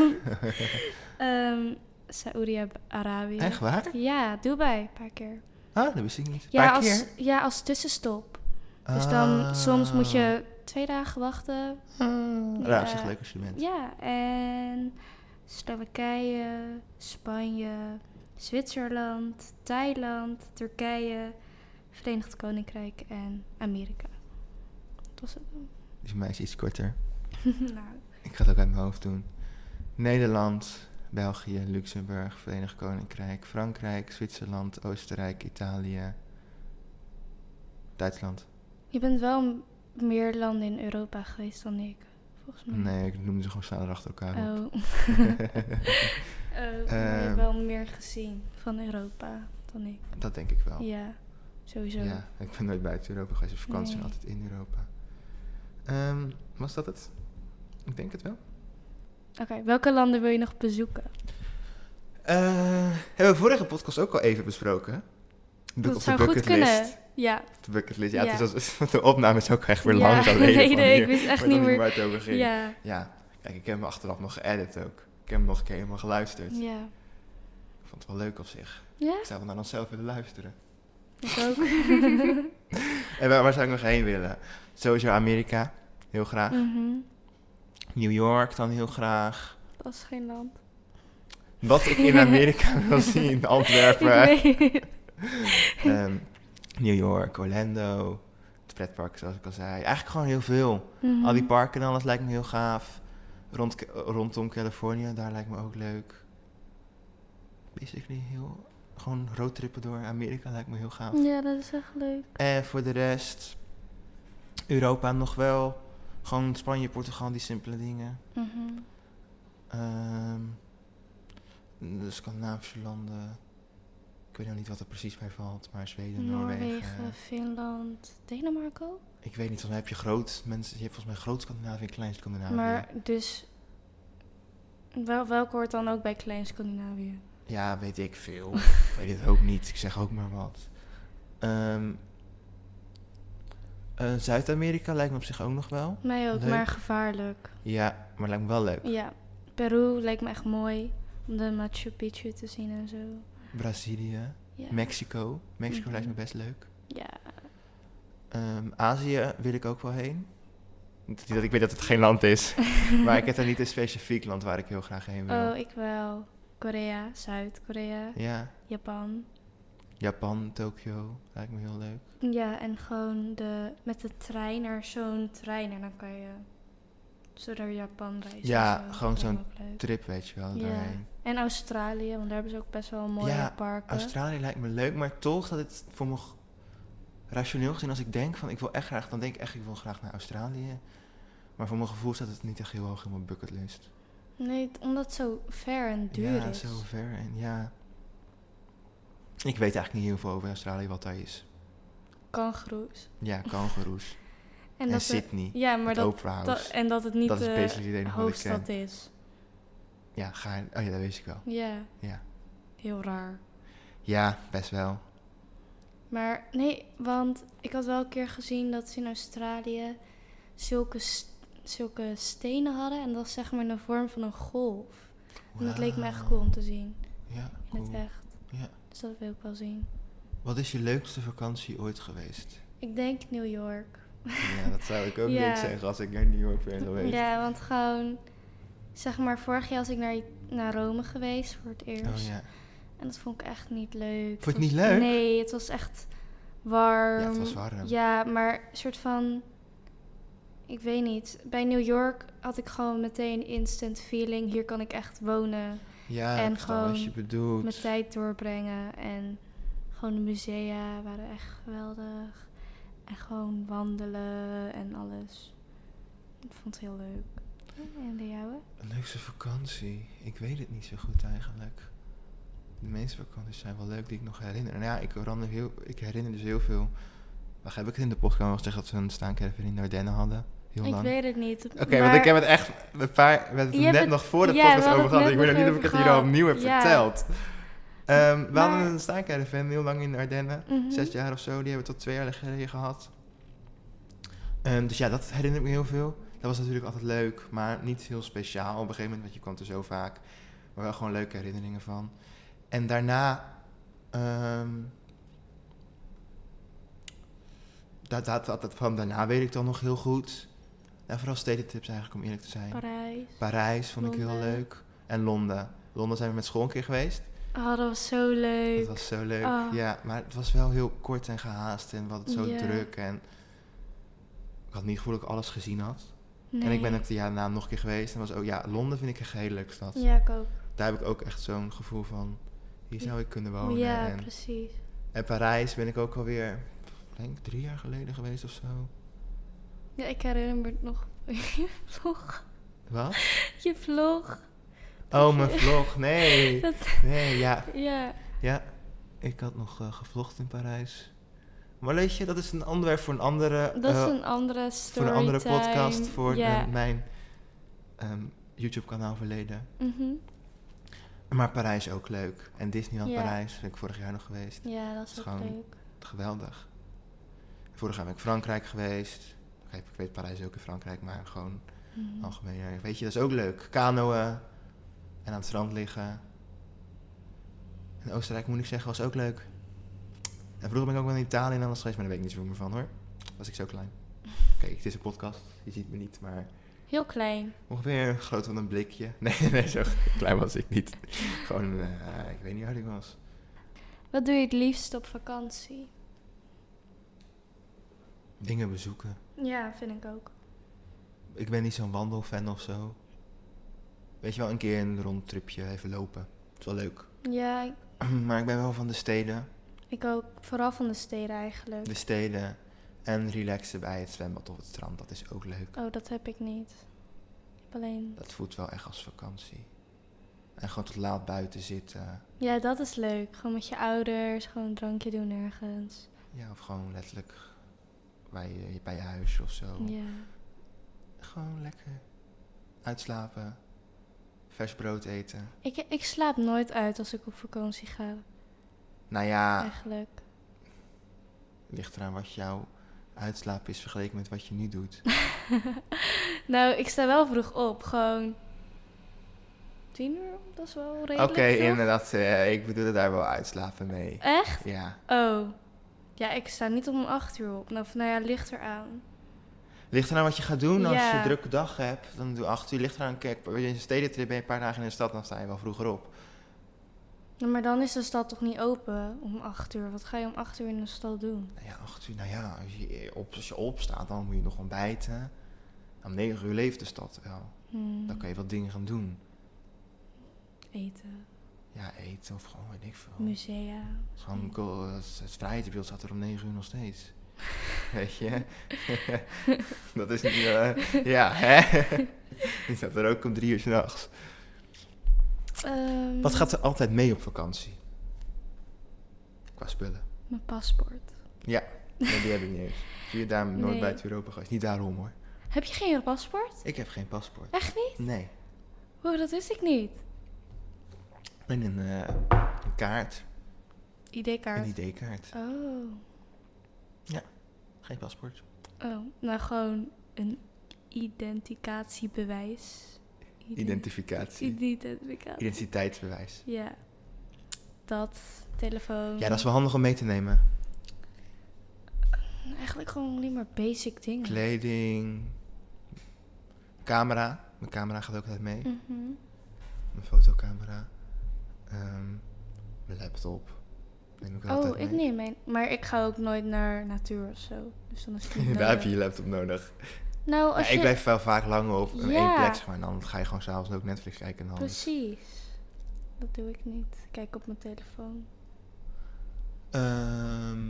Speaker 2: Ehm Saoedi-Arabië.
Speaker 1: Echt waar?
Speaker 2: Ja, Dubai, een paar keer.
Speaker 1: Ah, dat wist ik niet.
Speaker 2: Ja,
Speaker 1: Paar
Speaker 2: als,
Speaker 1: keer.
Speaker 2: ja, als tussenstop. Dus dan soms moet je twee dagen wachten.
Speaker 1: Ah, ja,
Speaker 2: Ja.
Speaker 1: dat is echt leuk als je er bent.
Speaker 2: Ja, en Slowakije, Spanje, Zwitserland, Thailand, Turkije, Verenigd Koninkrijk en Amerika. Dat was het.
Speaker 1: Dus mij is iets korter.
Speaker 2: nou,
Speaker 1: Ik ga het ook uit mijn hoofd doen. Nederland, België, Luxemburg, Verenigd Koninkrijk, Frankrijk, Zwitserland, Oostenrijk, Italië, Duitsland.
Speaker 2: je bent wel m- meer landen in Europa geweest dan ik, volgens mij.
Speaker 1: Nee, ik noemde ze gewoon sneller achter elkaar op.
Speaker 2: Hmm. Oh. Eh, maar je
Speaker 1: Ehm.
Speaker 2: hebt wel meer gezien van Europa dan ik.
Speaker 1: Dat denk ik wel.
Speaker 2: Ja, sowieso.
Speaker 1: Oh. Ja, ik ben nooit buiten Europa geweest. Op vakantie
Speaker 2: Nee.
Speaker 1: en altijd in Europa. Ehm, was dat het? Ik denk het wel.
Speaker 2: Oké, welke landen wil je nog bezoeken?
Speaker 1: Eh, hebben we vorige podcast ook al even besproken? Bu-
Speaker 2: dat
Speaker 1: of
Speaker 2: zou
Speaker 1: de
Speaker 2: goed kunnen.
Speaker 1: bucketlist.
Speaker 2: Ja.
Speaker 1: De bucketlist. Ja, het
Speaker 2: Ja.
Speaker 1: is als, de opname is ook echt weer
Speaker 2: Ja,
Speaker 1: lang. dan weet je
Speaker 2: nee,
Speaker 1: van
Speaker 2: nee,
Speaker 1: hier.
Speaker 2: ik wist echt
Speaker 1: weet nog
Speaker 2: niet
Speaker 1: waar het over ging. Ja.
Speaker 2: Ja.
Speaker 1: Kijk, ik heb hem achteraf nog geëdit ook. Ik heb hem nog een keer helemaal geluisterd.
Speaker 2: Ja.
Speaker 1: Ik vond het wel leuk op zich.
Speaker 2: Ja?
Speaker 1: Ik zou wel naar onszelf willen luisteren.
Speaker 2: Ik ook.
Speaker 1: En waar, waar zou ik nog heen willen? Sowieso Amerika. Heel graag.
Speaker 2: Mhm.
Speaker 1: New York dan heel graag.
Speaker 2: Dat is geen land.
Speaker 1: Wat ik in Amerika wil zien. Antwerpen.
Speaker 2: Ik weet-
Speaker 1: Ehm, New York, Orlando. Het pretpark zoals ik al zei. Eigenlijk gewoon heel veel.
Speaker 2: Mhm.
Speaker 1: Al die parken en alles lijkt me heel gaaf. Rond, rondom Californië, daar lijkt me ook leuk. Basically heel... Gewoon roadtrippen door Amerika lijkt me heel gaaf.
Speaker 2: Ja, dat is echt leuk.
Speaker 1: En voor de rest... Europa nog wel. Gewoon Spanje, Portugal, die simpele dingen.
Speaker 2: Mhm.
Speaker 1: Ehm de Scandinavische landen. Ik weet nog niet wat er precies bij valt, maar Zweden, Noorwegen.
Speaker 2: Noorwegen, Finland, Denemarken ook.
Speaker 1: Ik weet niet, volgens mij heb je groot mensen, je hebt volgens mij groot Scandinavië en klein Scandinavië.
Speaker 2: Maar dus, wel, welke hoort dan ook bij Klein Scandinavië?
Speaker 1: Ja, weet ik veel. weet het ook niet. Ik zeg ook maar wat. Ehm, eh, Zuid-Amerika lijkt me op zich ook nog wel.
Speaker 2: Mij ook,
Speaker 1: Leuk.
Speaker 2: maar gevaarlijk.
Speaker 1: Ja, maar lijkt me wel leuk.
Speaker 2: Ja, Peru lijkt me echt mooi om de Machu Picchu te zien en zo.
Speaker 1: Brazilië,
Speaker 2: Ja,
Speaker 1: Mexico. Mexico
Speaker 2: Mhm.
Speaker 1: lijkt me best leuk.
Speaker 2: ja.
Speaker 1: Ehm, Azië wil ik ook wel heen. Niet dat ik weet dat het geen land is. maar ik heb er niet een specifiek land waar ik heel graag heen wil.
Speaker 2: Oh, ik wel. Korea, Zuid-Korea,
Speaker 1: Ja,
Speaker 2: Japan.
Speaker 1: Japan, Tokio lijkt me heel leuk.
Speaker 2: Ja, en gewoon de, met de trein naar zo'n trein en dan kan je zo naar Japan reizen.
Speaker 1: Ja,
Speaker 2: en zo.
Speaker 1: gewoon
Speaker 2: Dat lijkt
Speaker 1: zo'n
Speaker 2: me ook leuk.
Speaker 1: Trip, weet je wel,
Speaker 2: Ja.
Speaker 1: daarheen.
Speaker 2: En Australië, want daar hebben ze ook best wel mooie
Speaker 1: Ja,
Speaker 2: parken.
Speaker 1: Australië lijkt me leuk, maar toch dat het voor me g- rationeel gezien, als ik denk van ik wil echt graag, dan denk ik echt ik wil graag naar Australië. Maar voor mijn gevoel staat het niet echt heel hoog in mijn bucketlist.
Speaker 2: nee, t- omdat het zo ver en duur
Speaker 1: ja,
Speaker 2: is.
Speaker 1: zo ver en ja. Ik weet eigenlijk niet heel veel over Australië wat daar is.
Speaker 2: Kangoeroes.
Speaker 1: Ja, kangoeroes
Speaker 2: En
Speaker 1: en,
Speaker 2: dat ze-
Speaker 1: Sydney,
Speaker 2: ja, maar
Speaker 1: het
Speaker 2: dat,
Speaker 1: Opera House.
Speaker 2: dat, en dat het niet
Speaker 1: dat is
Speaker 2: de
Speaker 1: basically het enige wat ik ken.
Speaker 2: hoofdstad is.
Speaker 1: Ja, ga je, oh ja, dat weet ik wel.
Speaker 2: Ja.
Speaker 1: Ja.
Speaker 2: Heel raar.
Speaker 1: Ja, best wel.
Speaker 2: Maar nee, want ik had wel een keer gezien dat ze in Australië zulke, st- zulke stenen hadden. En dat was zeg maar in de vorm van een golf. En dat leek me echt cool om te zien.
Speaker 1: Ja,
Speaker 2: In
Speaker 1: cool.
Speaker 2: het echt.
Speaker 1: Ja.
Speaker 2: Dus dat wil ik wel zien.
Speaker 1: Wat is je leukste vakantie ooit geweest?
Speaker 2: Ik denk New York.
Speaker 1: ja, dat zou ik ook
Speaker 2: Ja.
Speaker 1: leuk zeggen als ik naar New York ben geweest.
Speaker 2: Ja, want gewoon... Zeg maar, vorig jaar was ik naar, naar Rome geweest voor het eerst.
Speaker 1: Oh ja.
Speaker 2: En dat vond ik echt niet leuk.
Speaker 1: Vond je het
Speaker 2: was-
Speaker 1: niet leuk?
Speaker 2: Nee, het was echt warm.
Speaker 1: Ja, het was warm.
Speaker 2: Ehm, Ja, maar een soort van... Ik weet niet. Bij New York had ik gewoon meteen instant feeling. Hier kan ik echt wonen.
Speaker 1: Ja,
Speaker 2: En
Speaker 1: ik snap wat
Speaker 2: gewoon
Speaker 1: je bedoelt.
Speaker 2: Mijn tijd doorbrengen. En gewoon de musea waren echt geweldig. En gewoon wandelen en alles. Ik vond het heel leuk. En de jouwe?
Speaker 1: Een leukste vakantie? Ik weet het niet zo goed eigenlijk. De meeste vakanties zijn wel leuk die ik nog herinner. Nou ja, ik, herinner heel, ik herinner dus heel veel. Waar heb ik het in de podcast al gezegd dat we een staankerver in Ardennen hadden? Heel
Speaker 2: Ik
Speaker 1: lang.
Speaker 2: weet het niet.
Speaker 1: Oké, want ik heb het echt een paar, we hebben het
Speaker 2: Je hebt
Speaker 1: net
Speaker 2: het-
Speaker 1: nog voor de
Speaker 2: ja, we
Speaker 1: podcast
Speaker 2: hadden
Speaker 1: over
Speaker 2: het
Speaker 1: gehad.
Speaker 2: net
Speaker 1: Ik weet nog
Speaker 2: nog
Speaker 1: niet of ik
Speaker 2: over
Speaker 1: het hier al
Speaker 2: gehad.
Speaker 1: opnieuw heb
Speaker 2: Ja.
Speaker 1: verteld. Ehm, we
Speaker 2: Maar-
Speaker 1: hadden een staankerven heel lang in de Ardennen.
Speaker 2: Mhm.
Speaker 1: Zes jaar of zo, die hebben we tot twee jaar geleden gehad. Ehm, dus ja, dat herinner ik me heel veel. Dat was natuurlijk altijd leuk, maar niet heel speciaal op een gegeven moment, want je kwam er zo vaak. Maar wel gewoon leuke herinneringen van. En daarna... ehm, dat, dat, dat, dat van daarna weet ik dan nog heel goed. En vooral stedentips eigenlijk, om eerlijk te zijn.
Speaker 2: Parijs.
Speaker 1: Parijs vond ik heel
Speaker 2: Londen.
Speaker 1: leuk. En Londen. Londen zijn we met school een keer geweest.
Speaker 2: Oh, dat was zo leuk.
Speaker 1: Dat was zo leuk.
Speaker 2: Ah.
Speaker 1: Ja, maar het was wel heel kort en gehaast en wat het zo
Speaker 2: Ja.
Speaker 1: druk. En ik had niet het gevoel dat ik alles gezien had. En
Speaker 2: Nee.
Speaker 1: ik ben ook de jaar daarna nog een keer geweest. En was ook, ja, Londen vind ik een gehele stad.
Speaker 2: Ja, ik ook.
Speaker 1: Daar heb ik ook echt zo'n gevoel van, hier zou ik kunnen wonen.
Speaker 2: ja,
Speaker 1: Oh, en,
Speaker 2: precies.
Speaker 1: en Parijs ben ik ook alweer, ik denk drie jaar geleden geweest of zo.
Speaker 2: Ja, ik herinner me het nog. je vlog.
Speaker 1: Wat?
Speaker 2: Je vlog.
Speaker 1: Oh, mijn vlog. Nee.
Speaker 2: Dat,
Speaker 1: Nee, ja.
Speaker 2: ja.
Speaker 1: Ja, ik had nog eh, gevlogd in Parijs. Maar weet je, dat is een onderwerp voor een andere,
Speaker 2: Dat
Speaker 1: eh,
Speaker 2: is een andere
Speaker 1: voor
Speaker 2: story.
Speaker 1: een andere podcast, voor
Speaker 2: ja.
Speaker 1: eh, mijn ehm, YouTube-kanaal verleden.
Speaker 2: Mhm.
Speaker 1: Maar Parijs ook leuk. En Disneyland
Speaker 2: Ja.
Speaker 1: Parijs ben ik vorig jaar nog geweest.
Speaker 2: Ja, dat is ook
Speaker 1: Schoon.
Speaker 2: leuk.
Speaker 1: Geweldig. Vorig jaar ben ik Frankrijk geweest. Oké, Ik weet Parijs ook in Frankrijk, maar gewoon Oh.
Speaker 2: Mhm.
Speaker 1: algemeen. Weet je, dat is ook leuk. Kanoën en aan het strand liggen. En Oostenrijk, moet ik zeggen, was ook leuk. En vroeger ben ik ook wel in Italië en anders geweest, maar daar weet ik niet zoveel meer van hoor. Was ik zo klein. Kijk, het is een podcast, je ziet me niet, maar
Speaker 2: Heel klein.
Speaker 1: ongeveer groot van een blikje. Nee, nee, nee, zo klein was ik niet. Gewoon, eh, ik weet niet hoe oud ik was.
Speaker 2: Wat doe je het liefst op vakantie?
Speaker 1: Dingen bezoeken.
Speaker 2: Ja, vind ik ook.
Speaker 1: Ik ben niet zo'n wandelfan of zo. Weet je wel, een keer een rondtripje, even lopen. Het is wel leuk.
Speaker 2: Ja, ik-
Speaker 1: Maar ik ben wel van de steden.
Speaker 2: ik ook. Vooral van de steden eigenlijk.
Speaker 1: de steden en relaxen bij het zwembad of het strand. Dat is ook leuk.
Speaker 2: Oh, dat heb ik niet. Ik heb alleen...
Speaker 1: Dat voelt wel echt als vakantie. En gewoon tot laat buiten zitten.
Speaker 2: Ja, dat is leuk. Gewoon met je ouders, gewoon een drankje doen ergens.
Speaker 1: Ja, of gewoon letterlijk bij je, bij je huis of zo.
Speaker 2: Ja.
Speaker 1: Gewoon lekker uitslapen. Vers brood eten.
Speaker 2: Ik, ik slaap nooit uit als ik op vakantie ga,
Speaker 1: Nou ja,
Speaker 2: eigenlijk.
Speaker 1: ligt eraan wat jouw uitslapen is vergeleken met wat je nu doet.
Speaker 2: Nou, ik sta wel vroeg op. Gewoon tien uur, dat is wel
Speaker 1: Oké,
Speaker 2: redelijk, toch?
Speaker 1: inderdaad. eh, ik bedoel daar wel uitslapen mee.
Speaker 2: Echt?
Speaker 1: Ja.
Speaker 2: Oh. Ja, ik sta niet om acht uur op. Nou, van, nou ja, ligt eraan.
Speaker 1: Ligt eraan wat je gaat doen. Als je
Speaker 2: Ja.
Speaker 1: een drukke dag hebt, dan doe 8 uur. Ligt eraan, kijk, als je een stedentrip ben je een paar dagen in de stad, dan sta je wel vroeger op.
Speaker 2: Ja, maar dan is de stad toch niet open om acht uur? Wat ga je om acht uur in de stad doen?
Speaker 1: Nou ja, 8 uur, nou ja, als je, op, als je opstaat, dan moet je nog ontbijten. Om 9 uur leeft de stad wel.
Speaker 2: Hmm,
Speaker 1: Dan kan je wat dingen gaan doen.
Speaker 2: Eten,
Speaker 1: Ja, eten of gewoon, weet ik veel.
Speaker 2: musea.
Speaker 1: Oh. Gewoon, cul- het, het vrijheidsbeeld staat er om 9 uur nog steeds. Weet je? dat is niet... eh, ja, hè? Die staat er ook om 3 uur s'nachts.
Speaker 2: Ehm,
Speaker 1: Wat gaat er altijd mee op vakantie? Qua spullen.
Speaker 2: Mijn paspoort.
Speaker 1: Nee, die heb ik niet eens. Zie je daarom nooit
Speaker 2: Nee.
Speaker 1: buiten Europa geweest. Niet daarom hoor.
Speaker 2: Heb je geen paspoort?
Speaker 1: Ik heb geen paspoort.
Speaker 2: Echt niet?
Speaker 1: Nee.
Speaker 2: Oh, dat wist ik niet.
Speaker 1: En een, eh, een kaart.
Speaker 2: ID-kaart.
Speaker 1: Een ID-kaart.
Speaker 2: Oh.
Speaker 1: Geen paspoort.
Speaker 2: oh, nou gewoon een identificatiebewijs. Ident-
Speaker 1: Identificatie.
Speaker 2: Identificatie.
Speaker 1: Identiteitsbewijs.
Speaker 2: Ja. Dat, telefoon.
Speaker 1: Ja, dat is wel handig om mee te nemen.
Speaker 2: Eigenlijk gewoon alleen maar basic dingen.
Speaker 1: Kleding. Camera. Mijn camera gaat ook altijd mee.
Speaker 2: Mhm.
Speaker 1: Mijn fotocamera. Ehm, mijn laptop. Neem ik altijd
Speaker 2: Oh, ik
Speaker 1: mee.
Speaker 2: neem mijn. Maar ik ga ook nooit naar natuur of zo. Dus dan is het niet
Speaker 1: Daar heb
Speaker 2: nodig.
Speaker 1: je je laptop nodig.
Speaker 2: Nou, als
Speaker 1: Ja,
Speaker 2: je...
Speaker 1: ik blijf wel vaak lang op een één
Speaker 2: Ja.
Speaker 1: plek, zeg maar. En dan ga je gewoon s'avonds ook Netflix kijken. En dan
Speaker 2: Precies. Dat doe ik niet. Ik Kijk op mijn telefoon.
Speaker 1: Ehm,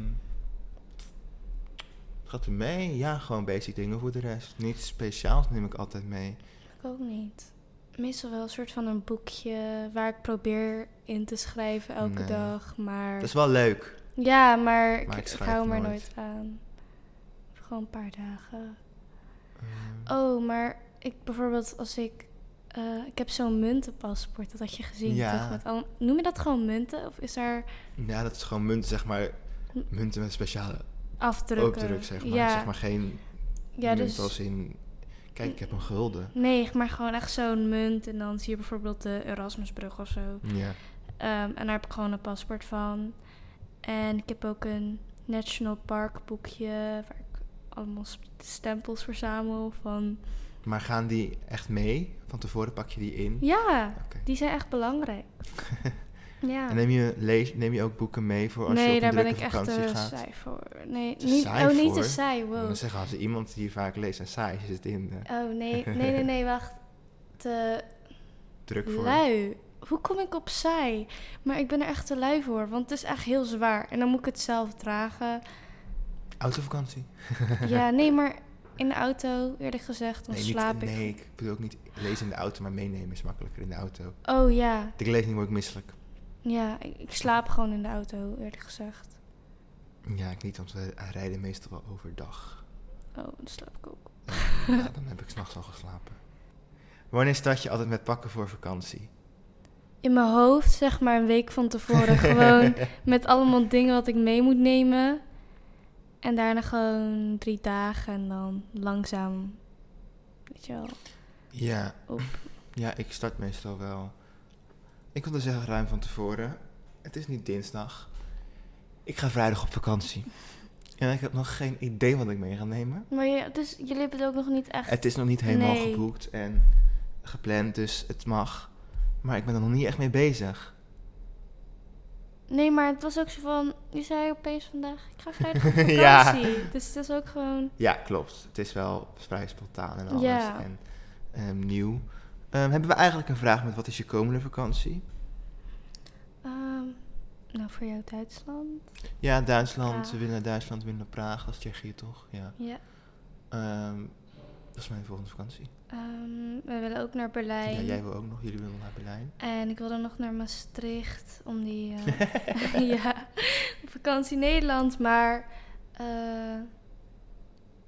Speaker 1: gaat er mee? Ja, gewoon basic dingen voor de rest. Niets speciaals neem ik altijd mee.
Speaker 2: Ik ook niet. Meestal wel een soort van een boekje waar ik probeer in te schrijven elke
Speaker 1: Nee.
Speaker 2: dag. Maar...
Speaker 1: Dat is wel leuk.
Speaker 2: Ja, maar ik,
Speaker 1: Maar ik
Speaker 2: ik
Speaker 1: schrijf
Speaker 2: hou hem er
Speaker 1: nooit.
Speaker 2: nooit aan. Gewoon een paar dagen.
Speaker 1: Ehm,
Speaker 2: Oh, maar ik bijvoorbeeld als ik... eh, ik heb zo'n muntenpaspoort, dat had je gezien
Speaker 1: Ja.
Speaker 2: toch? Met al, noem je dat gewoon munten? Of is daar
Speaker 1: Ja, dat is gewoon munten, zeg maar.
Speaker 2: Hm.
Speaker 1: Munten met speciale
Speaker 2: afdrukken?
Speaker 1: opdruk, zeg maar.
Speaker 2: Ja,
Speaker 1: Zeg maar geen
Speaker 2: ja
Speaker 1: munt
Speaker 2: dus...
Speaker 1: als in... Kijk, ik heb een gulden.
Speaker 2: Nee, maar gewoon echt zo'n munt. En dan zie je bijvoorbeeld de Erasmusbrug of zo.
Speaker 1: Ja.
Speaker 2: Ehm, en daar heb ik gewoon een paspoort van. En ik heb ook een National Park boekje... waar ik allemaal sp- stempels verzamel van...
Speaker 1: Maar gaan die echt mee? Van tevoren pak je die in?
Speaker 2: Ja,
Speaker 1: Oké.
Speaker 2: die zijn echt belangrijk. ja.
Speaker 1: En neem je, lees, neem je ook boeken mee voor als je
Speaker 2: nee,
Speaker 1: op een
Speaker 2: daar ben ik
Speaker 1: drukke
Speaker 2: echt
Speaker 1: vakantie
Speaker 2: te
Speaker 1: gaat?
Speaker 2: saai voor. Nee,
Speaker 1: Te
Speaker 2: niet,
Speaker 1: saai
Speaker 2: oh, niet te
Speaker 1: voor?
Speaker 2: saai,
Speaker 1: Want
Speaker 2: wow.
Speaker 1: Dan zeggen als er iemand die vaak leest en saai is, het in eh,
Speaker 2: Oh, nee, nee, nee, nee, wacht. Te
Speaker 1: druk voor.
Speaker 2: lui. Hoe kom ik op saai? Maar ik ben er echt te lui voor, want het is echt heel zwaar. En dan moet ik het zelf dragen.
Speaker 1: Autovakantie?
Speaker 2: ja, nee, maar in de auto, eerlijk gezegd, dan
Speaker 1: nee,
Speaker 2: slaap
Speaker 1: niet,
Speaker 2: ik.
Speaker 1: nee, ik bedoel ook niet lezen in de auto, maar meenemen is makkelijker in de auto.
Speaker 2: Oh ja,
Speaker 1: De lezing word ik misselijk.
Speaker 2: ja, ik, ik slaap gewoon in de auto, eerlijk gezegd.
Speaker 1: Ja, ik niet, want we rijden meestal wel overdag. Eh,
Speaker 2: Oh, dan slaap ik ook.
Speaker 1: ja, dan heb ik s'nachts al geslapen. Wanneer start je altijd met pakken voor vakantie?
Speaker 2: In mijn hoofd, zeg maar een week van tevoren, gewoon met allemaal dingen wat ik mee moet nemen. En daarna gewoon drie dagen en dan langzaam, weet je wel.
Speaker 1: Ja.
Speaker 2: Op.
Speaker 1: Ja, ik start meestal wel. Ik wilde zeggen ruim van tevoren. Het is niet dinsdag. Ik ga vrijdag op vakantie. En ik heb nog geen idee wat ik mee ga nemen.
Speaker 2: Maar je, dus jullie hebben het ook nog niet echt...
Speaker 1: Het is nog niet helemaal
Speaker 2: Nee.
Speaker 1: geboekt en gepland, dus het mag. Maar ik ben er nog niet echt mee bezig.
Speaker 2: Nee, maar het was ook zo van, je zei opeens vandaag, ik ga vrijdag op vakantie.
Speaker 1: Ja.
Speaker 2: Dus het is ook gewoon...
Speaker 1: Ja, klopt. Het is wel vrij spontaan en alles.
Speaker 2: Ja.
Speaker 1: En ehm, nieuw. Ehm, hebben we eigenlijk een vraag met wat is je komende vakantie?
Speaker 2: ehm, nou, voor jou Duitsland.
Speaker 1: Ja, Duitsland. We
Speaker 2: Praag.
Speaker 1: willen naar Duitsland, we willen naar Praag. Dat is Tsjechië toch? Ja.
Speaker 2: Ja.
Speaker 1: Ehm, dat is mijn volgende vakantie.
Speaker 2: Ehm, we willen ook naar Berlijn.
Speaker 1: Ja, jij wil ook nog. Jullie willen naar Berlijn.
Speaker 2: En ik wilde nog naar Maastricht om die eh, ja, op vakantie Nederland, maar eh,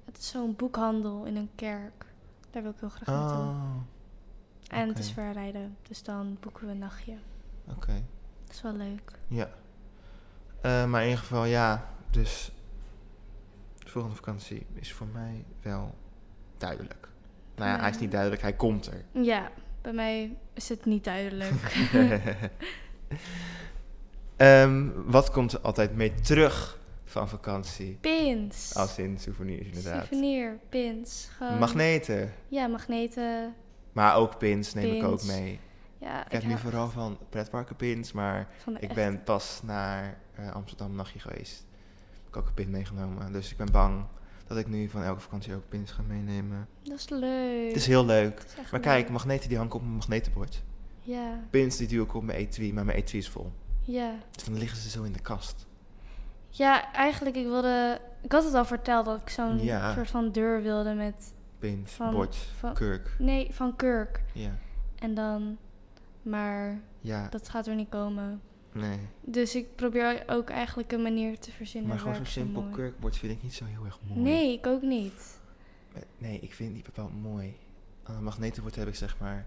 Speaker 2: het is zo'n boekhandel in een kerk. Daar wil ik heel graag naartoe.
Speaker 1: Oh,
Speaker 2: en het is
Speaker 1: oké.
Speaker 2: ver rijden, dus dan boeken we een nachtje.
Speaker 1: oké.
Speaker 2: Dat is wel leuk.
Speaker 1: Ja. Eh, maar in ieder geval, ja. Dus de volgende vakantie is voor mij wel duidelijk. Nou ja, hij is niet duidelijk. Hij komt er.
Speaker 2: Ja, bij mij is het niet duidelijk.
Speaker 1: Ehm, wat komt er altijd mee terug van vakantie?
Speaker 2: Pins.
Speaker 1: Als in souvenirs, Oh, inderdaad.
Speaker 2: Souvenir, pins. Gewoon,
Speaker 1: Magneten.
Speaker 2: Ja, magneten.
Speaker 1: Maar ook pins neem ik ook
Speaker 2: Pins.
Speaker 1: mee.
Speaker 2: Ja,
Speaker 1: Ik heb nu
Speaker 2: hou
Speaker 1: vooral van pretparkenpins, maar
Speaker 2: van de
Speaker 1: Ik
Speaker 2: echte.
Speaker 1: ben pas naar eh, Amsterdam een nachtje geweest. Heb ik ook een pin meegenomen. Dus ik ben bang dat ik nu van elke vakantie ook pins ga meenemen.
Speaker 2: Dat is leuk.
Speaker 1: Het is heel leuk.
Speaker 2: Het is echt
Speaker 1: Maar
Speaker 2: leuk.
Speaker 1: kijk, magneten die hangen op mijn magnetenbord.
Speaker 2: Ja,
Speaker 1: Pins die duw ik op mijn etui, maar mijn etui is vol.
Speaker 2: ja.
Speaker 1: Dus dan liggen ze zo in de kast.
Speaker 2: Ja, eigenlijk, ik wilde... Ik had het al verteld dat ik zo'n
Speaker 1: Ja.
Speaker 2: soort van deur wilde met...
Speaker 1: Pins,
Speaker 2: Van-
Speaker 1: bord,
Speaker 2: van-
Speaker 1: kurk.
Speaker 2: Nee, van kurk.
Speaker 1: Ja,
Speaker 2: En dan... Maar
Speaker 1: ja,
Speaker 2: dat gaat er niet komen.
Speaker 1: nee.
Speaker 2: Dus ik probeer ook eigenlijk een manier te verzinnen
Speaker 1: Maar gewoon
Speaker 2: waar
Speaker 1: zo'n
Speaker 2: ik
Speaker 1: simpel
Speaker 2: mooi-
Speaker 1: kurkbord vind ik niet zo heel erg mooi.
Speaker 2: Nee, ik ook niet.
Speaker 1: Eh, Nee, ik vind het niet bepaald mooi. Aan een magnetenbord heb ik zeg maar...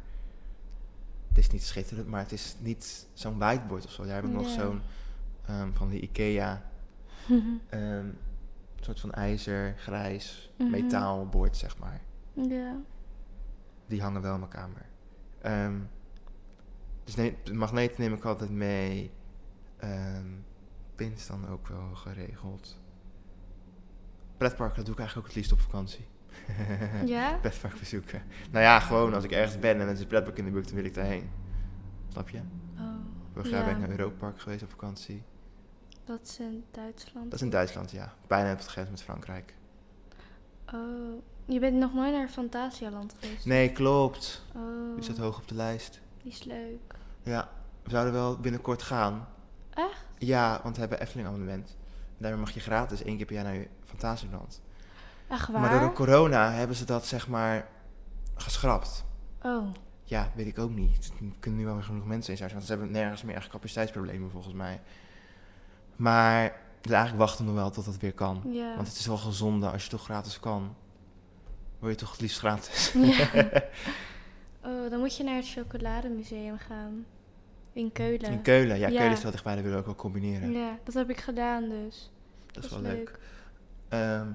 Speaker 1: Het is niet schitterend, maar het is niet zo'n whiteboard of zo. Daar heb ik nog
Speaker 2: Ja.
Speaker 1: zo'n ehm, van de IKEA. Ehm, een soort van ijzer, grijs,
Speaker 2: Mhm.
Speaker 1: metaalbord, zeg maar.
Speaker 2: ja.
Speaker 1: Die hangen wel in mijn kamer. Ehm, dus nee, de magneet neem ik altijd mee. Ehm, pins dan ook wel geregeld. Pretpark, dat doe ik eigenlijk ook het liefst op vakantie.
Speaker 2: Ja?
Speaker 1: Pretpark bezoeken. Nou ja, gewoon als ik ergens ben en er is een pretpark in de buurt, dan wil ik daarheen. Snap je?
Speaker 2: Oh.
Speaker 1: Vorig jaar ben ik
Speaker 2: Ja.
Speaker 1: naar Europa Park geweest op vakantie.
Speaker 2: Dat is in Duitsland.
Speaker 1: Dat is in Duitsland, ja. Bijna op het grens met Frankrijk.
Speaker 2: Oh. Je bent nog nooit naar Fantasialand geweest?
Speaker 1: Nee, klopt.
Speaker 2: Oh.
Speaker 1: Die staat hoog op de lijst.
Speaker 2: Die is leuk.
Speaker 1: Ja, we zouden wel binnenkort gaan.
Speaker 2: Echt?
Speaker 1: Ja, want we hebben Efteling abonnement. Daarmee mag je gratis één keer per jaar naar Fantasieland.
Speaker 2: Echt waar?
Speaker 1: Maar door de corona hebben ze dat zeg maar geschrapt.
Speaker 2: Oh.
Speaker 1: Ja, weet ik ook niet. Er kunnen nu wel weer genoeg mensen in zijn. Want ze hebben nergens meer echt capaciteitsproblemen volgens mij. Maar dus eigenlijk wachten we nog wel tot dat weer kan.
Speaker 2: Ja.
Speaker 1: Want het is wel gezonde als je toch gratis kan. Wil je toch het liefst gratis?
Speaker 2: Ja. Oh, dan moet je naar het chocolademuseum gaan. In Keulen.
Speaker 1: In Keulen. Ja,
Speaker 2: Ja.
Speaker 1: Keulen is wel dichtbij. Dat willen we ook wel combineren.
Speaker 2: Ja, dat heb ik gedaan dus.
Speaker 1: dat is wel leuk. Ehm,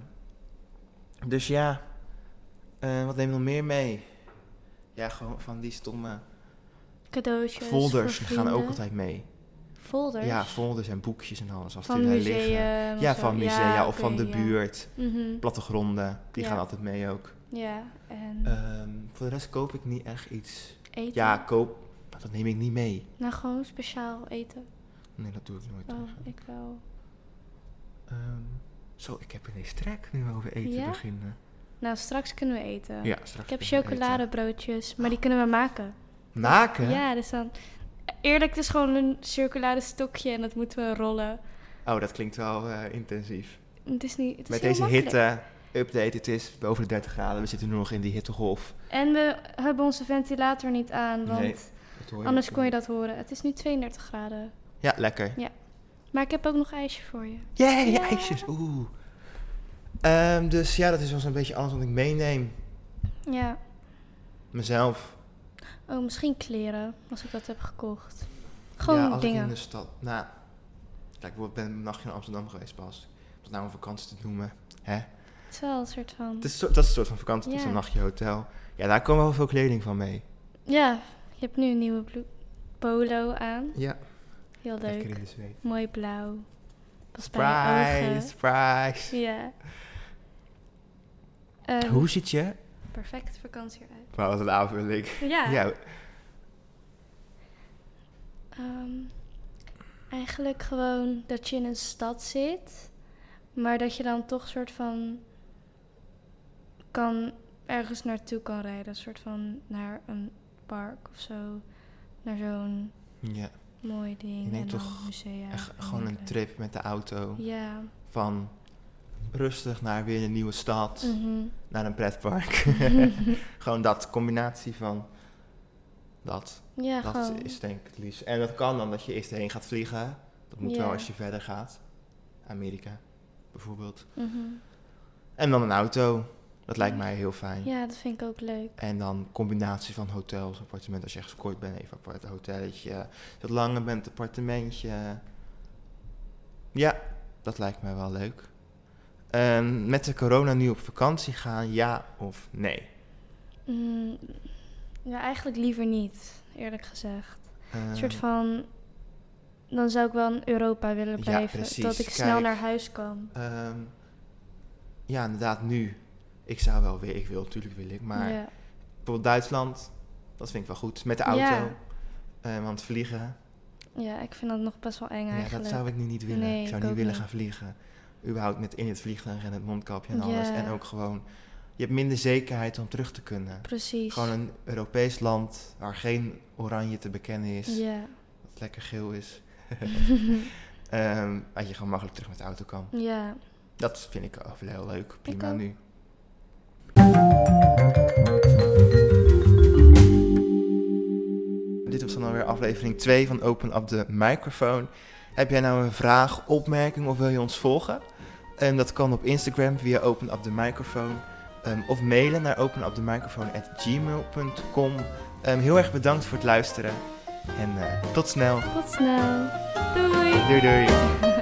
Speaker 1: dus ja, Eh, wat neem je nog meer mee? Ja, gewoon van die stomme
Speaker 2: Cadeautjes.
Speaker 1: folders
Speaker 2: voor
Speaker 1: die gaan ook
Speaker 2: vrienden.
Speaker 1: altijd mee.
Speaker 2: Folders?
Speaker 1: Ja, folders en boekjes en alles. Als
Speaker 2: van
Speaker 1: die daar
Speaker 2: musea.
Speaker 1: liggen. Ja, van musea of van de buurt.
Speaker 2: Mhm.
Speaker 1: Plattegronden, die
Speaker 2: Ja. Mm.
Speaker 1: gaan altijd mee ook.
Speaker 2: Ja, en
Speaker 1: Ehm, voor de rest koop ik niet echt iets.
Speaker 2: eten.
Speaker 1: Ja, koop, maar dat neem ik niet mee.
Speaker 2: Nou, gewoon speciaal eten.
Speaker 1: Nee, dat doe ik nooit.
Speaker 2: Oh,
Speaker 1: eigenlijk.
Speaker 2: ik wel.
Speaker 1: Ehm, zo, ik heb ineens trek nu over eten
Speaker 2: Ja?
Speaker 1: beginnen.
Speaker 2: Nou, straks kunnen we eten.
Speaker 1: Ja, straks.
Speaker 2: Ik heb
Speaker 1: beginnen eten.
Speaker 2: chocoladebroodjes, maar die kunnen we maken.
Speaker 1: Maken?
Speaker 2: Ja, dus dan... Eerlijk, het is gewoon een chocoladestokje en dat moeten we rollen.
Speaker 1: Oh, dat klinkt wel eh, intensief.
Speaker 2: Het is niet... Het is
Speaker 1: Met
Speaker 2: heel
Speaker 1: deze
Speaker 2: makkelijk.
Speaker 1: hitte, update, het is boven de 30 graden. We zitten nu nog in die hittegolf.
Speaker 2: En we hebben onze ventilator niet aan, want
Speaker 1: Nee, Dat hoor
Speaker 2: anders
Speaker 1: ook
Speaker 2: kon je
Speaker 1: wel.
Speaker 2: dat horen. Het is nu 32 graden.
Speaker 1: Ja, lekker.
Speaker 2: Maar ik heb ook nog ijsje voor je.
Speaker 1: Yay,
Speaker 2: Ja.
Speaker 1: ijsjes. Oeh. Ehm, dus ja, dat is wel zo'n beetje alles wat ik meeneem.
Speaker 2: Ja.
Speaker 1: Mezelf.
Speaker 2: Oh, misschien kleren, als ik dat heb gekocht. Gewoon
Speaker 1: ja, als ik
Speaker 2: dingen.
Speaker 1: in de stad. Nou, kijk, ik ben een nachtje in Amsterdam geweest pas. Om dat nou een vakantie te noemen. Hè?
Speaker 2: Het is wel een soort van...
Speaker 1: Het is, zo- dat is een soort van vakantie, het is
Speaker 2: Ja.
Speaker 1: een nachtje hotel. Ja, daar komen wel veel kleding van mee.
Speaker 2: Ja, je hebt nu een nieuwe blo- polo aan.
Speaker 1: Ja,
Speaker 2: Heel
Speaker 1: lekker in
Speaker 2: leuk.
Speaker 1: de zweet.
Speaker 2: Mooi blauw. Pas bij je
Speaker 1: Surprise,
Speaker 2: ogen.
Speaker 1: surprise.
Speaker 2: Ja. Ehm,
Speaker 1: Hoe ziet je?
Speaker 2: Perfecte vakantie eruit.
Speaker 1: Wauw, wat een aanvulling.
Speaker 2: Ja.
Speaker 1: ja,
Speaker 2: Ehm, eigenlijk gewoon dat je in een stad zit, maar dat je dan toch soort van kan ergens naartoe kan rijden, soort van naar een park of zo, naar zo'n
Speaker 1: ja.
Speaker 2: mooi ding
Speaker 1: Je neemt
Speaker 2: en dan
Speaker 1: toch
Speaker 2: musea.
Speaker 1: Echt
Speaker 2: en
Speaker 1: gewoon een
Speaker 2: dingen.
Speaker 1: trip met de auto.
Speaker 2: Ja.
Speaker 1: Van rustig naar weer een nieuwe stad,
Speaker 2: mhm.
Speaker 1: naar een pretpark. gewoon dat, combinatie van dat.
Speaker 2: Ja,
Speaker 1: dat
Speaker 2: gewoon.
Speaker 1: is denk ik het liefst. En dat kan dan dat je eerst heen gaat vliegen. Dat moet wel
Speaker 2: Ja.
Speaker 1: als je verder gaat. Amerika bijvoorbeeld.
Speaker 2: mhm.
Speaker 1: En dan een auto. Dat lijkt mij heel fijn.
Speaker 2: Ja, dat vind ik ook leuk.
Speaker 1: En dan combinatie van hotels, appartement. Als je echt kort bent, even apart hotelletje. Als je wat langer bent, appartementje. Ja, dat lijkt mij wel leuk. En met de corona nu op vakantie gaan, ja of nee?
Speaker 2: Mm, ja, eigenlijk liever niet, eerlijk gezegd.
Speaker 1: Ehm,
Speaker 2: Een soort van. Dan zou ik wel in Europa willen
Speaker 1: Ja,
Speaker 2: blijven.
Speaker 1: precies.
Speaker 2: dat ik snel
Speaker 1: Kijk.
Speaker 2: naar huis kan.
Speaker 1: ehm, ja, inderdaad, nu. Ik zou wel weer, ik wil, natuurlijk wil ik. Maar
Speaker 2: ja.
Speaker 1: bijvoorbeeld Duitsland, dat vind ik wel goed. Met de auto.
Speaker 2: Ja.
Speaker 1: Eh, want vliegen,
Speaker 2: ja, ik vind dat nog best wel eng
Speaker 1: ja,
Speaker 2: eigenlijk.
Speaker 1: dat zou ik nu niet willen.
Speaker 2: Nee,
Speaker 1: ik zou
Speaker 2: ik
Speaker 1: niet
Speaker 2: ook
Speaker 1: willen
Speaker 2: niet.
Speaker 1: gaan vliegen. Überhaupt met in het vliegtuig en het mondkapje en alles.
Speaker 2: Ja.
Speaker 1: En ook gewoon, je hebt minder zekerheid om terug te kunnen.
Speaker 2: Precies.
Speaker 1: Gewoon een Europees land waar geen oranje te bekennen is,
Speaker 2: Ja.
Speaker 1: dat lekker geel is. Ehm dat je gewoon makkelijk terug met de auto kan.
Speaker 2: ja.
Speaker 1: Dat vind ik wel heel leuk. Prima
Speaker 2: ook.
Speaker 1: nu. Dit was dan alweer aflevering 2 van Open Up de Microfoon. Heb jij nou een vraag, opmerking of wil je ons volgen? En dat kan op Instagram via Open Up de Microfoon. Ehm, of mailen naar openupthemicrophone.gmail.com. Ehm heel erg bedankt voor het luisteren.
Speaker 2: En eh, tot snel.
Speaker 1: Tot snel. Doei.
Speaker 2: Doei doei.